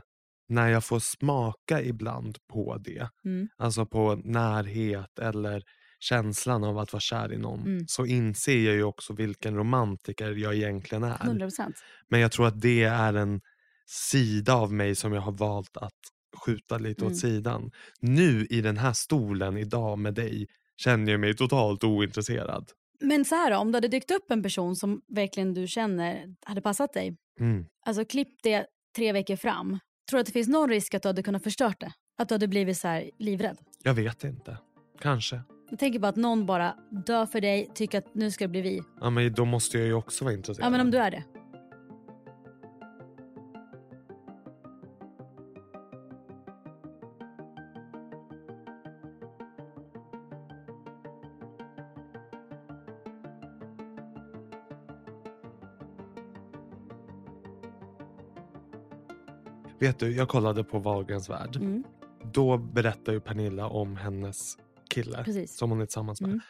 S2: när jag får smaka ibland på det,
S1: Mm.
S2: alltså på närhet eller känslan av att vara kär i någon,
S1: Mm.
S2: så inser jag ju också vilken romantiker jag egentligen är.
S1: 100 procent.
S2: Men jag tror att det är en sida av mig som jag har valt att skjuta lite
S1: Mm.
S2: åt sidan. Nu i den här stolen idag med dig känner jag mig totalt ointresserad.
S1: Men så här då, om det hade dykt upp en person som verkligen du känner hade passat dig.
S2: Mm.
S1: Alltså klipp det tre veckor fram. Tror du att det finns någon risk att du hade kunnat förstört det? Att du hade blivit så här livrädd?
S2: Jag vet inte. Kanske.
S1: Jag tänker bara att någon bara dör för dig, tycker att nu ska det bli vi.
S2: Ja, men då måste jag ju också vara intresserad.
S1: Ja men om du är det.
S2: Vet du, jag kollade på Wahlgrens värld.
S1: Mm.
S2: Då berättar ju Pernilla om hennes kille
S1: Precis.
S2: som hon är tillsammans med.
S1: Mm.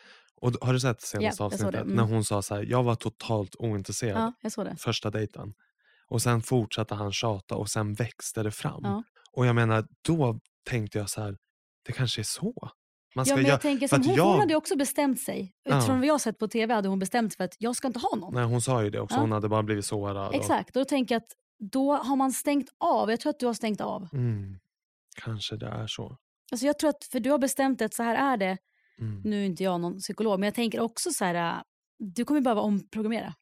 S2: Och d- har du sett senaste
S1: Ja, jag såg det.
S2: avsnittet
S1: Mm.
S2: när hon sa så här, jag var totalt ointresserad
S1: Ja, jag såg det.
S2: första dejten. Och sen fortsatte han tjata och sen växte det fram.
S1: Ja.
S2: Och jag menar, då tänkte jag så här, det kanske är så. Man
S1: Ja, men
S2: göra-
S1: jag tänker
S2: för
S1: som
S2: att
S1: hon,
S2: jag-
S1: hon hade ju också bestämt sig.
S2: Ja.
S1: Utifrån vad jag har sett på tv hade hon bestämt sig för att jag ska inte ha någon.
S2: Nej, hon sa ju det också.
S1: Ja.
S2: Hon hade bara blivit sårad.
S1: Exakt, och då tänker jag att då har man stängt av. Jag tror att du har stängt av.
S2: Och, mm, kanske det är så.
S1: Alltså jag tror att, för du har bestämt att så här är det.
S2: Mm.
S1: Nu är inte jag någon psykolog, men jag tänker också så här, äh, du kommer behöva omprogrammera.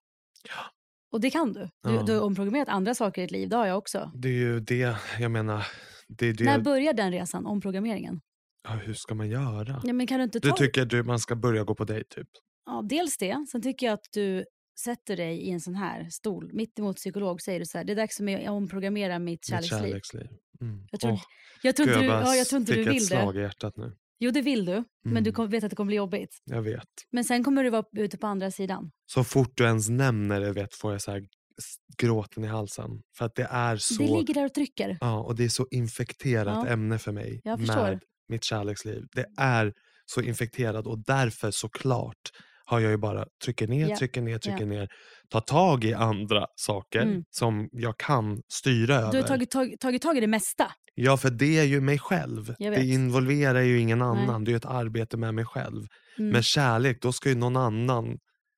S1: Och det kan du. Du,
S2: Ja.
S1: du har omprogrammerat andra saker i ditt liv, det har jag också.
S2: Det är ju det, jag menar, det är det.
S1: När börjar den resan, omprogrammeringen?
S2: Ja, hur ska man göra?
S1: Ja, men kan du inte
S2: Du
S1: ta...
S2: tycker du, man ska börja gå på dejt typ?
S1: ja, dels det, sen tycker jag att du sätter dig i en sån här stol, mitt emot psykolog, och säger du så här, det är dags för mig att omprogrammera mitt
S2: Mitt
S1: kärleksliv.
S2: kärleksliv. Mm.
S1: Jag tror-
S2: Åh,
S1: Jag tror
S2: gud,
S1: inte du,
S2: bara
S1: ja, jag tror inte du
S2: fick
S1: vill
S2: ett slag
S1: det.
S2: i hjärtat nu.
S1: Jo, det vill du, men du
S2: Mm.
S1: kommer, vet att det kommer bli jobbigt.
S2: Jag vet.
S1: Men sen kommer du vara ute på andra sidan.
S2: Så fort du ens nämner det vet får jag så här s- gråten i halsen. För att det är så,
S1: Det ligger där och trycker.
S2: ja, och det är så infekterat
S1: Ja.
S2: ämne för mig
S1: Jag förstår.
S2: med mitt kärleksliv. Det är så infekterat och därför såklart har jag ju bara trycker ner,
S1: Ja.
S2: trycker ner, trycker ner. Ta tag i andra saker
S1: Mm.
S2: som jag kan styra
S1: Du
S2: över.
S1: har tagit, tag, tagit tag i det mesta.
S2: Ja, för det är ju mig själv.
S1: Jag
S2: Det
S1: vet.
S2: involverar ju ingen annan. Det är ju ett arbete med mig själv.
S1: Mm.
S2: Men kärlek, då ska ju någon annan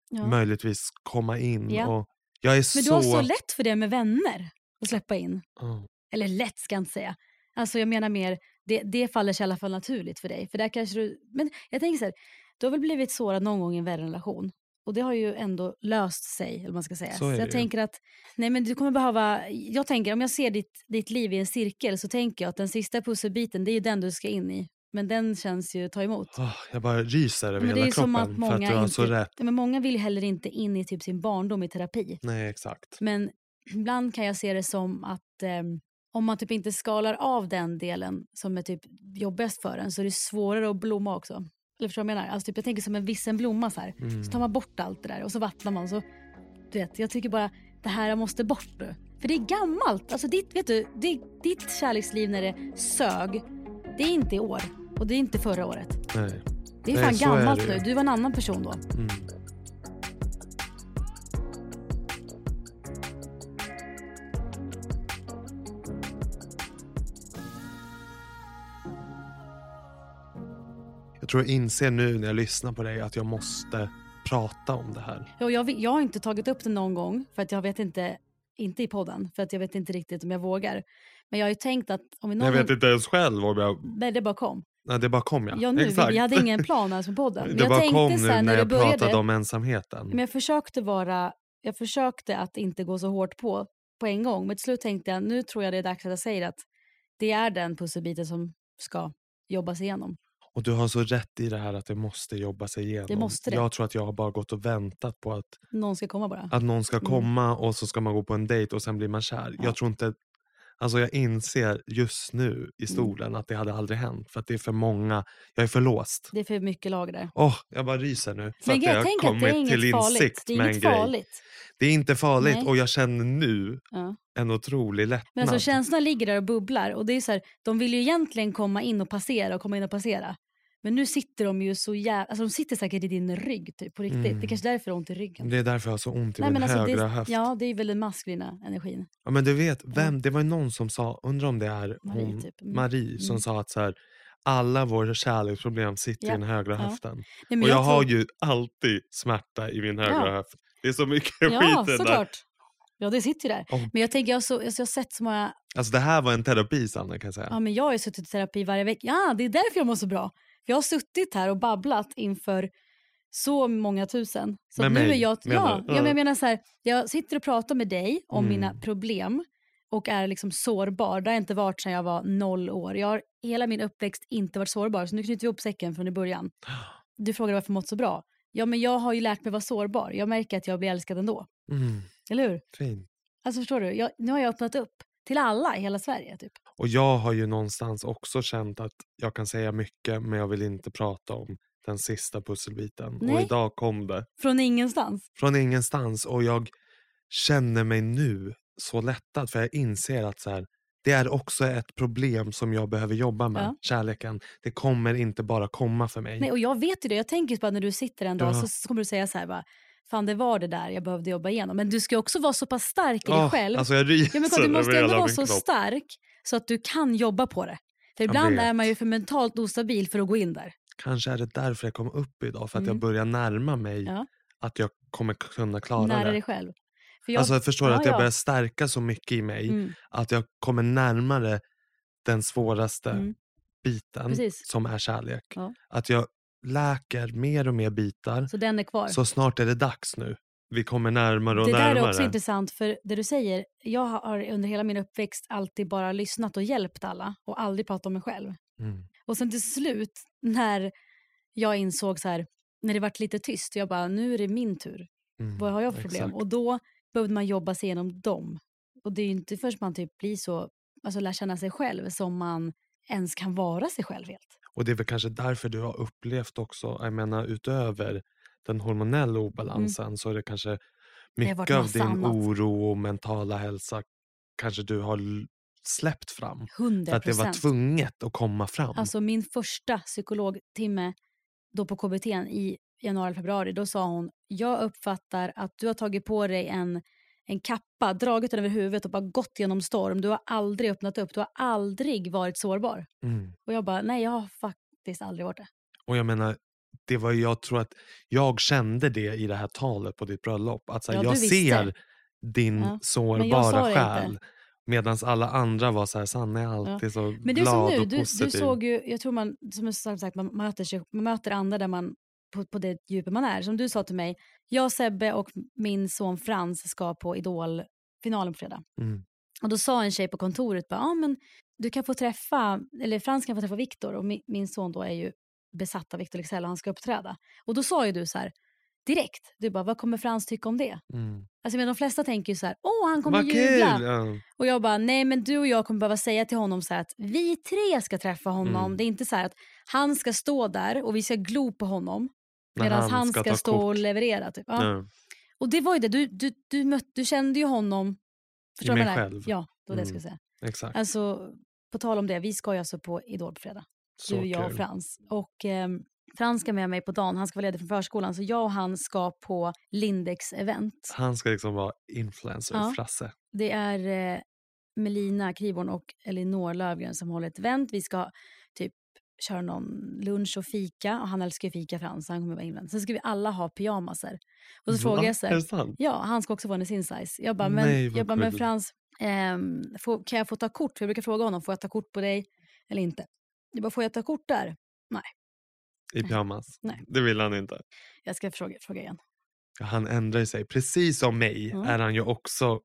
S1: Ja.
S2: möjligtvis komma in.
S1: Ja.
S2: Och jag är
S1: Men du
S2: så... oh,
S1: har så lätt för det med vänner att släppa in.
S2: Ja.
S1: Eller lätt ska jag inte säga. Alltså jag menar mer, det, det faller sig i alla fall naturligt för dig. För där kanske du, men jag tänker så här, du har väl blivit sårad någon gång i en vänrelation. Och det har ju ändå löst sig, eller vad man ska säga.
S2: Så
S1: så
S2: är det
S1: jag
S2: ju.
S1: tänker att, nej men du kommer behöva, jag tänker om jag ser ditt, ditt liv i en cirkel så tänker jag att den sista pusselbiten det är ju den du ska in i. Men den känns ju ta emot.
S2: Åh, oh, jag bara ryser över
S1: Men det är
S2: hela
S1: ju som att
S2: kroppen för
S1: många,
S2: att du har
S1: inte,
S2: så rätt.
S1: Men många vill heller inte in i typ sin barndom i terapi.
S2: Nej, exakt.
S1: Men ibland kan jag se det som att ehm, om man typ inte skalar av den delen som är typ jobbigast för en så är det svårare att blomma också. Eller förstår du vad jag menar? Alltså typ, jag tänker som en vissen blomma så här. Så
S2: Mm.
S1: tar man bort allt det där och så vattnar man. Så, du vet, jag tycker bara det här måste bort nu. För det är gammalt. Alltså ditt, vet du, det, ditt kärleksliv när det sög, det är inte i år. Och det är inte förra året.
S2: Nej.
S1: Det är
S2: Nej,
S1: fan
S2: så är det
S1: gammalt
S2: ju.
S1: nu. Du var en annan person då.
S2: Jag tror jag inser nu när jag lyssnar på dig att jag måste prata om det här.
S1: Ja, och Jag, vet- jag har inte tagit upp det någon gång, för att jag vet inte, inte i podden, för att jag vet inte riktigt om jag vågar. Men jag har ju tänkt att om vi någon
S2: Jag vet
S1: gång,
S2: inte ens själv om jag...
S1: Nej, det bara kom.
S2: Nej, det bara kom jag.
S1: Ja, nu,
S2: exakt.
S1: vi hade ingen plan alls med podden. Men
S2: det
S1: jag
S2: bara
S1: tänkte
S2: kom nu
S1: så här,
S2: när
S1: det
S2: jag
S1: började,
S2: pratade om ensamheten.
S1: Men jag försökte vara, jag försökte att inte gå så hårt på, på en gång. Men till slut tänkte jag, nu tror jag det är dags att jag säger att det är den pusselbiten som ska jobbas igenom.
S2: Och du har så rätt i det här att det måste jobba sig igenom.
S1: måste det.
S2: Jag tror att jag har bara gått och väntat på att,
S1: Någon ska komma bara.
S2: att någon ska komma och så ska man gå på en dejt och sen blir man kär. Jag tror inte... Alltså jag inser just nu
S1: Mm.
S2: i stolen att det hade aldrig hänt. För att det är för många. Jag är för låst.
S1: Det är för mycket lager där.
S2: Åh, jag bara ryser nu. För
S1: Men
S2: att
S1: jag
S2: jag
S1: tänker
S2: har
S1: att det är
S2: kommit till
S1: inget farligt.
S2: insikt
S1: Det är
S2: med
S1: inget
S2: en grej.
S1: farligt.
S2: Det är inte farligt
S1: Nej.
S2: och jag känner nu
S1: Ja.
S2: en otrolig lättnad.
S1: Men alltså känslorna ligger där och bubblar och det är så här, de vill ju egentligen komma in och passera och komma in och passera. Men nu sitter de ju så jävla, alltså de sitter säkert i din rygg typ på riktigt. Det är kanske därför du har ont i ryggen.
S2: Mm. Det är därför jag har så ont i
S1: Nej,
S2: min
S1: men alltså,
S2: högra
S1: det,
S2: höft.
S1: ja, det är väl den maskulina energin.
S2: Ja, men du vet, vem, det var ju någon som sa, undrar om det är
S1: Marie
S2: hon,
S1: typ. Mm.
S2: Marie som sa att så här, alla våra kärleksproblem sitter i
S1: Ja.
S2: den högra
S1: Ja.
S2: höften.
S1: Nej, men
S2: Och jag,
S1: tror-
S2: har ju alltid smärta i min högra
S1: Ja.
S2: höft. Det är så mycket
S1: ja,
S2: skit i den där.
S1: såklart. Ja, det sitter ju där.
S2: Åh.
S1: Men jag tänker, jag har, så, alltså, jag har sett så många,
S2: Alltså det här var en terapi Sanna kan jag säga.
S1: ja men jag har ju suttit i terapi varje vecka. Ja, det är därför jag mår så bra. För jag har suttit här och babblat inför så många tusen. Så
S2: Med
S1: att nu
S2: mig,
S1: är jag,
S2: menar
S1: ja,
S2: du?
S1: ja, men
S2: Ja.
S1: jag menar så här, jag sitter och pratar med dig om
S2: Mm.
S1: mina problem och är liksom sårbar. Det har jag inte varit sedan jag var noll år. Jag har hela min uppväxt inte varit sårbar, så nu knyter vi ihop säcken från i början. Du frågade varför jag mått så bra. Ja, men jag har ju lärt mig vara sårbar. Jag märker att jag blir älskad ändå.
S2: Mm,
S1: Eller hur?
S2: fint.
S1: Alltså förstår du, jag, nu har jag öppnat upp till alla i hela Sverige. Typ.
S2: Och jag har ju någonstans också känt att jag kan säga mycket men jag vill inte prata om den sista pusselbiten. Och
S1: Nej.
S2: idag kom det
S1: Från ingenstans.
S2: från ingenstans och jag känner mig nu så lättad för jag inser att så här, det är också ett problem som jag behöver jobba med,
S1: Ja.
S2: kärleken. Det kommer inte bara komma för mig.
S1: Nej, och jag vet ju det, jag tänker bara när du sitter en dag
S2: Ja.
S1: så- så kommer du säga så här bara, fan det var det där jag behövde jobba igenom. Men du ska ju också vara så pass stark i
S2: Åh,
S1: dig själv.
S2: Alltså jag
S1: ja, men kolla,
S2: ryser
S1: du måste
S2: över
S1: ändå
S2: hela
S1: vara
S2: min
S1: så
S2: kropp.
S1: stark så att du kan jobba på det. För ibland
S2: vet.
S1: är man ju för mentalt ostabil för att gå in där.
S2: Kanske är det därför jag kom upp idag, för att jag
S1: Mm.
S2: börjar närma mig
S1: Ja.
S2: att jag kommer kunna klara
S1: Nära
S2: det.
S1: dig själv. För jag,
S2: Alltså jag förstår
S1: Ja,
S2: att jag
S1: ja.
S2: börjar stärka så mycket i mig
S1: Mm.
S2: att jag kommer närmare den svåraste
S1: Mm.
S2: biten
S1: Precis.
S2: som är kärlek.
S1: Ja.
S2: Att jag läker mer och mer bitar.
S1: så den är kvar.
S2: Så snart är det dags nu. Vi kommer närmare och
S1: Det där
S2: närmare.
S1: är också intressant, för det du säger, jag har under hela min uppväxt alltid bara lyssnat och hjälpt alla och aldrig pratat om mig själv.
S2: Mm.
S1: Och sen till slut när jag insåg så här, när det vart lite tyst, jag bara, nu är det min tur.
S2: Mm.
S1: Vad har jag för problem?
S2: Exakt.
S1: Och då behövde man jobba sig igenom dem. Och det är ju inte först man typ blir så, alltså lär känna sig själv som man ens kan vara sig själv helt.
S2: Och det är väl kanske därför du har upplevt också, jag menar utöver den hormonella obalansen så är det kanske
S1: Mm. har varit
S2: mycket av
S1: massa
S2: din
S1: annat.
S2: oro och mentala hälsa kanske du har l- släppt fram. För
S1: Hundra
S2: att det var
S1: procent.
S2: tvunget att komma fram.
S1: Alltså min första psykologtimme då på KBT i januari, februari, då sa hon, jag uppfattar att du har tagit på dig en, en kappa, dragit den över huvudet och bara gått genom storm. Du har aldrig öppnat upp, du har aldrig varit sårbar.
S2: Mm.
S1: Och jag bara, nej jag har faktiskt aldrig varit det.
S2: Och jag menar, det var ju- jag tror att jag kände det i det här talet på ditt bröllop. Att så här,
S1: Ja,
S2: jag
S1: du visste.
S2: ser din
S1: Ja, men jag sa
S2: sårbara
S1: det
S2: själ.
S1: inte.
S2: Medan alla andra var så här, Sanna är alltid så
S1: Men det är
S2: glad
S1: som nu,
S2: och
S1: du,
S2: positiv.
S1: du såg ju, jag tror man, som jag sagt, sagt, man möter, sig, man möter andra där man, på, på det djupet man är. Som du sa till mig, jag, Sebbe och min son Frans ska på Idol-finalen på fredag.
S2: Mm.
S1: Och då sa en tjej på kontoret, bara, ah, men du kan få träffa, eller Frans kan få träffa Viktor och min, min son då är ju besatt av Viktor Leksell och han ska uppträda. Och då sa ju du så här, direkt, du bara, vad kommer Frans tycka om det?
S2: Mm.
S1: Alltså men de flesta tänker ju så här, åh han kommer
S2: Vad
S1: jubla.
S2: kul! Ja.
S1: Och jag bara, nej men du och jag kommer behöva säga till honom så här att vi tre ska träffa honom.
S2: Mm.
S1: Det är inte så här att han ska stå där och vi ska glo på honom.
S2: När
S1: Medan
S2: han
S1: han,
S2: ska
S1: ska,
S2: ta
S1: stå
S2: kort.
S1: och leverera. Typ. Ja.
S2: Ja.
S1: Och det var ju det, du, du, du, mötte, du kände ju honom. Förstår du
S2: mig
S1: vad jag menar?
S2: själv.
S1: Ja, det var det jag
S2: Mm.
S1: skulle säga.
S2: Exakt.
S1: Alltså, på tal om det, vi ska ju alltså på Idol på fredag.
S2: Så
S1: du, jag och
S2: kul.
S1: Frans. Och ehm, Frans ska med mig på dagen, han ska vara ledig från förskolan. Så jag och han ska på Lindex event.
S2: Han ska liksom vara influencer,
S1: Ja.
S2: Frasse.
S1: Det är eh, Melina Kriborn och Elinor Lövgren som håller ett event. Vi ska typ köra någon lunch och fika. Och han älskar ju fika Frans, han kommer vara inblandad. Sen ska vi alla ha pyjamaser. Och så frågar jag så
S2: Är det
S1: här,
S2: sant?
S1: ja han ska också vara i sin size. Jag bara, men,
S2: Nej, vad
S1: jag bara, men
S2: gulligt.
S1: Frans, ehm, får, kan jag få ta kort? För jag brukar fråga honom, får jag ta kort på dig eller inte? Jag bara, får jag ta kort där?
S2: I pyjamas?
S1: Nej.
S2: Det vill han inte.
S1: Jag ska fråga, fråga igen.
S2: Ja, Han ändrar ju sig. Precis som mig
S1: Ja.
S2: är han ju också,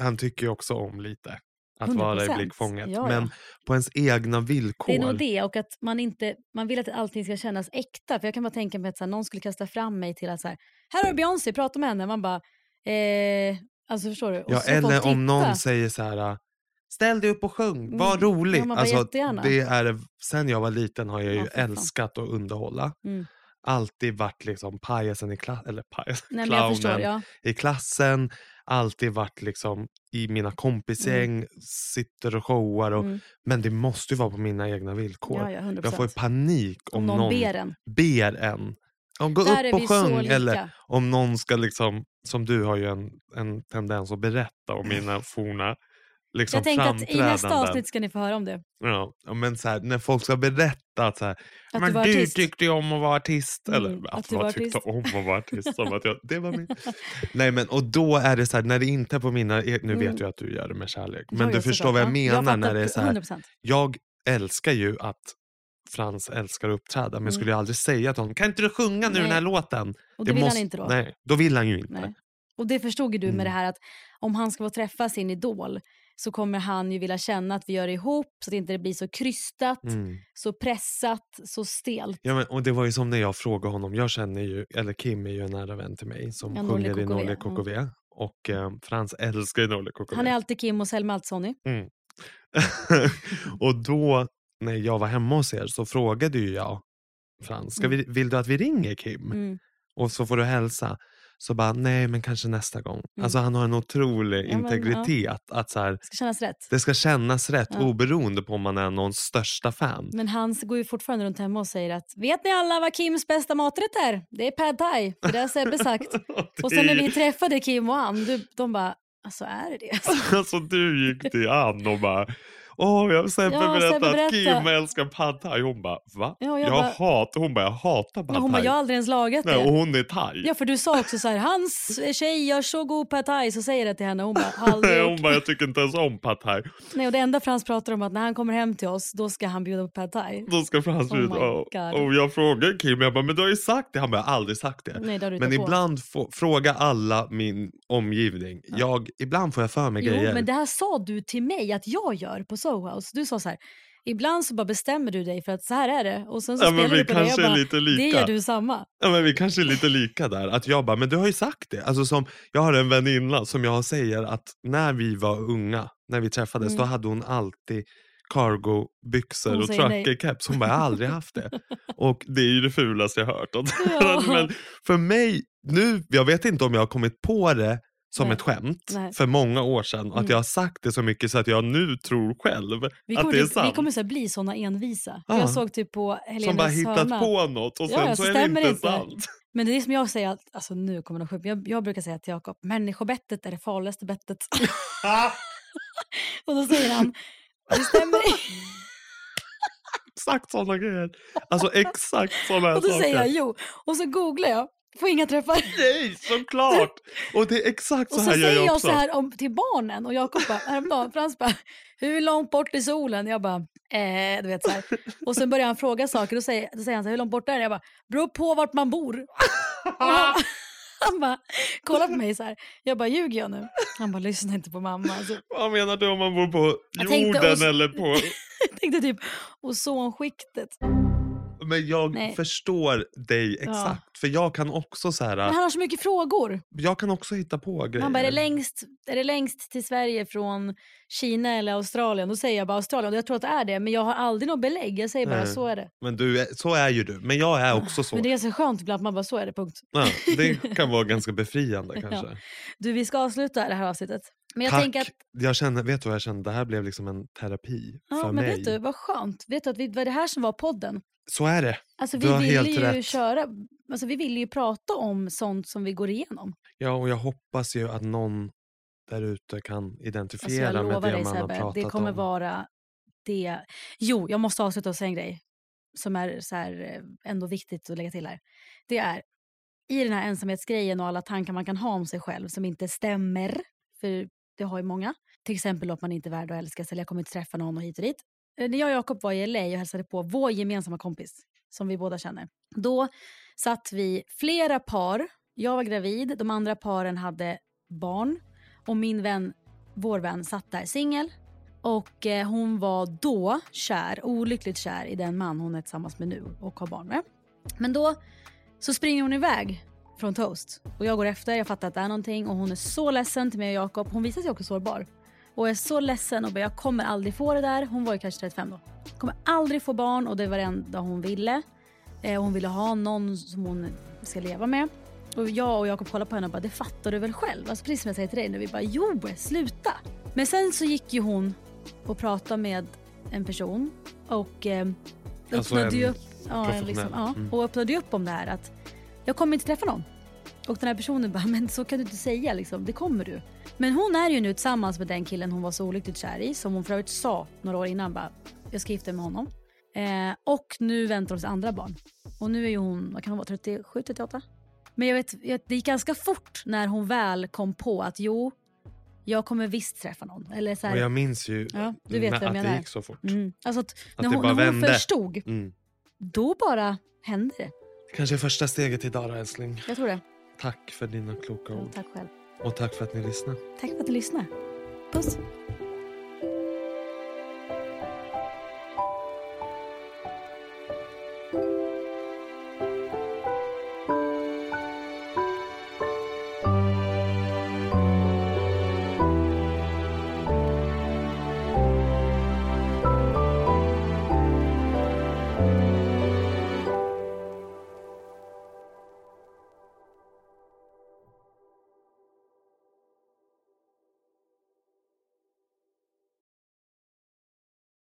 S2: han tycker ju också om lite att vara i
S1: 100%.
S2: blickfånget.
S1: Ja,
S2: Men
S1: ja.
S2: på ens egna villkor.
S1: Det är nog det och att man inte, man vill att allting ska kännas äkta. För jag kan bara tänka mig att så här, någon skulle kasta fram mig till att så här, här har du Beyoncé, prata med henne. Man bara, eh, alltså förstår du? Och
S2: Ja,
S1: så får folk
S2: eller om någon
S1: titta.
S2: säger så här, ställ dig upp och sjung, var
S1: Mm.
S2: rolig.
S1: Ja, man bara,
S2: alltså,
S1: jättegärna.
S2: det är, sen jag var liten har jag ju
S1: Ja, för fan.
S2: älskat att underhålla.
S1: Mm.
S2: Alltid varit liksom pajasen i klassen, eller pajasen,
S1: Nej, men jag
S2: clownen
S1: förstår, ja.
S2: i klassen. Alltid varit liksom i mina kompisgäng, sitter och showar. Och,
S1: Mm.
S2: Men det måste ju vara på mina egna villkor.
S1: ja, ja, 100%.
S2: Jag får ju panik om,
S1: om någon, ber en.
S2: ber en. Om gå
S1: Där
S2: upp
S1: är vi
S2: och
S1: så
S2: sjung
S1: lika.
S2: eller om någon ska liksom, som du har ju en, en tendens att berätta om mina forna liksom
S1: Jag Mm. tänker att i nästa
S2: framträdanden.
S1: avsnitt ska ni få höra om det.
S2: Ja, ja, men så här, när folk ska berätta att så här,
S1: du
S2: men
S1: var
S2: du
S1: artist."
S2: tyckte ju om att vara artist. Eller
S1: Mm,
S2: att, man tyckte om att vara artist. Som att jag, det var min. Nej, men, och då är det så här, när det inte är på mina... e- Nu vet jag att du gör det med kärlek.
S1: Mm. Jag
S2: Men
S1: gör
S2: du
S1: så
S2: förstår
S1: bra.
S2: vad jag
S1: Ja,
S2: menar när
S1: fattar
S2: det är så här,
S1: 100%.
S2: Jag älskar ju att Frans älskar att uppträda. Men jag skulle ju aldrig säga till honom, kan inte du sjunga nu den här
S1: Mm. Nej.
S2: låten?
S1: Och det vill han inte då.
S2: Nej, Mm. då vill han ju inte.
S1: Nej. Och det förstod ju du med det här att om han ska få träffa sin idol så kommer han ju vilja känna att vi gör det ihop så att inte det blir så krystat, så pressat, så stelt.
S2: Mm. Ja, men, och det var ju som när jag frågade honom. Jag känner ju, eller Kim är ju en nära vän till mig som
S1: Ja, Norlie
S2: sjunger i
S1: KKV,
S2: Norlie
S1: ja.
S2: KKV. Och eh, Frans älskar ju Norlie KKV.
S1: Han är alltid Kim och Selma Altssoni.
S2: och då, när jag var hemma hos er, så frågade ju jag Frans, ska vi, vill du att vi ringer Kim?
S1: Mm.
S2: Och så får du hälsa. Så bara, nej men kanske nästa gång. Alltså han har en otrolig
S1: Mm. Ja, men, ja.
S2: integritet. Att så här,
S1: Ska kännas rätt.
S2: det ska kännas rätt oberoende på om man är någons största fan.
S1: Men han går ju fortfarande runt hemma och säger att vet ni alla vad Kims bästa maträtt är? Det är pad thai, för det har Sebbe sagt. och sen när vi träffade Kim och han, du, de bara, alltså är det det?
S2: alltså du gick till Ann och bara Åh, jag har Sebbe
S1: Ja, Sebbe
S2: berättat att
S1: berätta."
S2: Kim älskar pad thai. Hon bara, va?
S1: Ja, och
S2: jag
S1: jag bara-
S2: hatar, hon bara, jag hatar pad
S1: Men hon bara,
S2: thai.
S1: jag har aldrig ens lagat det.
S2: Nej, och hon är thai.
S1: Ja, för du sa också så här, hans tjej gör så god pad thai, så säger jag det till henne. Hon bara, har aldrig
S2: Nej,
S1: gjort.
S2: hon bara, jag tycker inte ens om pad thai.
S1: Nej, och det enda Frans pratar om är att när han kommer hem till oss, då ska han bjuda på pad thai.
S2: Då ska Frans
S1: Oh
S2: ut.
S1: my
S2: och,
S1: God.
S2: och jag frågar Kim, jag bara, men du har ju sagt det. Han bara, jag har aldrig sagt det.
S1: Nej, det har du
S2: men
S1: hittat på.
S2: ibland, få, fråga alla min omgivning. Jag, ibland får jag för mig
S1: Jo,
S2: grejer.
S1: men det här sa du till mig att jag gör på Soho House. Du sa så här, ibland så bara bestämmer du dig för att så här är det. Och sen så
S2: Ja, men
S1: spelar
S2: vi
S1: du på det och
S2: kanske
S1: jag
S2: är
S1: bara,
S2: lite
S1: det
S2: lika."
S1: gör du samma.
S2: Ja, men vi kanske är lite lika där. Att jag bara, men du har ju sagt det. Alltså som, jag har en väninna som jag säger att när vi var unga, när vi träffades, då hade hon alltid cargobyxor
S1: Mm. Hon
S2: och
S1: säger nej.
S2: truckercaps. Hon bara, jag har aldrig haft det. Och det är ju det fulaste jag hört.
S1: Ja.
S2: men för mig, nu, jag vet inte om jag har kommit på det som
S1: Nej.
S2: ett skämt
S1: Nej. Mm.
S2: för många år sedan. Att jag har sagt det så mycket så att jag nu tror själv
S1: Vi
S2: att
S1: kommer,
S2: det är
S1: typ- vi
S2: sant.
S1: kommer så här bli sådana envisa. För
S2: Ja.
S1: Jag såg typ på
S2: som bara
S1: Helenas
S2: hittat
S1: hörna.
S2: på något och
S1: Ja,
S2: sen
S1: ja,
S2: så,
S1: så
S2: är det
S1: stämmer
S2: inte
S1: det inte.
S2: sant.
S1: Men det är som jag säger, att, alltså nu kommer de skjuta mig. jag, jag brukar säga till Jakob, människobettet är det farligaste bettet. och då säger han, det stämmer
S2: Exakt sådana grejer. Alltså exakt sådana
S1: Och då
S2: saker.
S1: säger jag jo. Och så googlar jag, får inga träffar.
S2: Nej, såklart! Och det är exakt
S1: Och
S2: så
S1: så
S2: här gör
S1: säger jag,
S2: jag också.
S1: så här om, till barnen och Jakob bara, häromdagen, Frans bara, hur långt bort är solen? Jag bara, eh, du vet så här. Och sen börjar han fråga saker och säger, då säger han så här, hur långt bort är det? Jag bara, beror på vart man bor. Och han, han bara, kolla på mig så här. Jag bara, ljuger jag nu? Han bara, lyssna inte på mamma. Alltså,
S2: Vad menar du om man bor på
S1: Jag tänkte
S2: jorden
S1: också-
S2: eller på...
S1: jag tänkte typ ozonskiktet.
S2: Men jag
S1: Nej.
S2: förstår dig exakt. För jag kan också så
S1: Men
S2: här,
S1: han har så mycket frågor.
S2: jag kan också hitta på grejer.
S1: Han bara, är det, längst, är det längst till Sverige från Kina eller Australien? Då säger jag bara Australien. Jag tror att det är det, men jag har aldrig något belägg. Jag säger bara,
S2: Nej.
S1: så är det.
S2: Men du, är- så är ju du. Men jag är också så.
S1: Men det är så skönt ibland att man bara, så är det, punkt.
S2: Ja, det kan vara ganska befriande kanske.
S1: Du, vi ska avsluta det här avsnittet. Men jag
S2: Tack!
S1: tänker att,
S2: jag känner, vet du vad jag känner? Det här blev liksom en terapi
S1: ja,
S2: för
S1: men
S2: mig.
S1: vet du, vad skönt. Vet du att vi, det var det här som var podden.
S2: Så är det.
S1: Alltså
S2: Du
S1: vi
S2: har
S1: ville
S2: helt
S1: ju
S2: rätt.
S1: köra, alltså vi ville ju prata om sånt som vi går igenom.
S2: Ja, och jag hoppas ju att någon där ute kan
S1: Alltså
S2: identifiera
S1: jag
S2: med
S1: lovar
S2: det
S1: dig
S2: man har
S1: Sebbe,
S2: pratat
S1: det kommer
S2: om.
S1: vara det. Jo, jag måste avsluta och säga en grej som är så här, eh, ändå viktigt att lägga till här. Det är i den här ensamhetsgrejen och alla tankar man kan ha om sig själv som inte stämmer, för det har ju många. Till exempel att man inte är värd att älskas eller jag kommer inte träffa någon och hit och dit. Eh, När jag och Jakob var i LA och hälsade på vår gemensamma kompis som vi båda känner. Då satt vi flera par, jag var gravid, de andra paren hade barn och min vän vår vän satt där singel. Och eh, hon var då kär, olyckligt kär i den man hon är tillsammans med nu och har barn med. Men då så springer hon iväg från Toast och jag går efter, jag fattar att det är någonting och hon är så ledsen till mig och Jakob. Hon visar sig också sårbar. Och är så ledsen och bara, jag kommer aldrig få det där. Hon var ju kanske 35 då. Kommer aldrig få barn och det var det enda hon ville. Eh, hon ville ha någon som hon ska leva med. Och jag och Jakob kollade på henne och bara, det fattar du väl själv? Alltså precis som jag säger till dig nu. Vi bara, jo, sluta. Men sen så gick ju hon och pratade med en person och eh,
S2: Alltså
S1: öppnade
S2: en
S1: ju upp, ja,
S2: professionell. Mm.
S1: liksom, ja, och öppnade ju upp om det här att jag kommer inte träffa någon. Och den här personen bara, men så kan du inte säga liksom, det kommer du. Men hon är ju nu tillsammans med den killen hon var så olyckligt kär i, som hon för övrigt sa några år innan, bara, jag ska gifta mig med honom. Eh, och nu väntar hon sitt andra barn. Och nu är ju hon, vad kan hon vara, 37, 38? Men jag vet, jag- det gick ganska fort när hon väl kom på att jo, jag kommer visst träffa någon. Eller så här,
S2: Och jag minns ju
S1: Ja, du vet
S2: na-
S1: vad jag
S2: att det
S1: menar.
S2: gick så fort.
S1: mm. alltså att, när
S2: det
S1: hon,
S2: bara
S1: när hon
S2: vände.
S1: förstod,
S2: Mm.
S1: då bara hände det.
S2: Kanske är första steget idag älskling.
S1: Jag tror det.
S2: Tack för dina kloka ord.
S1: Tack själv.
S2: Och tack för att ni lyssnade.
S1: Tack för att du lyssnar. Puss.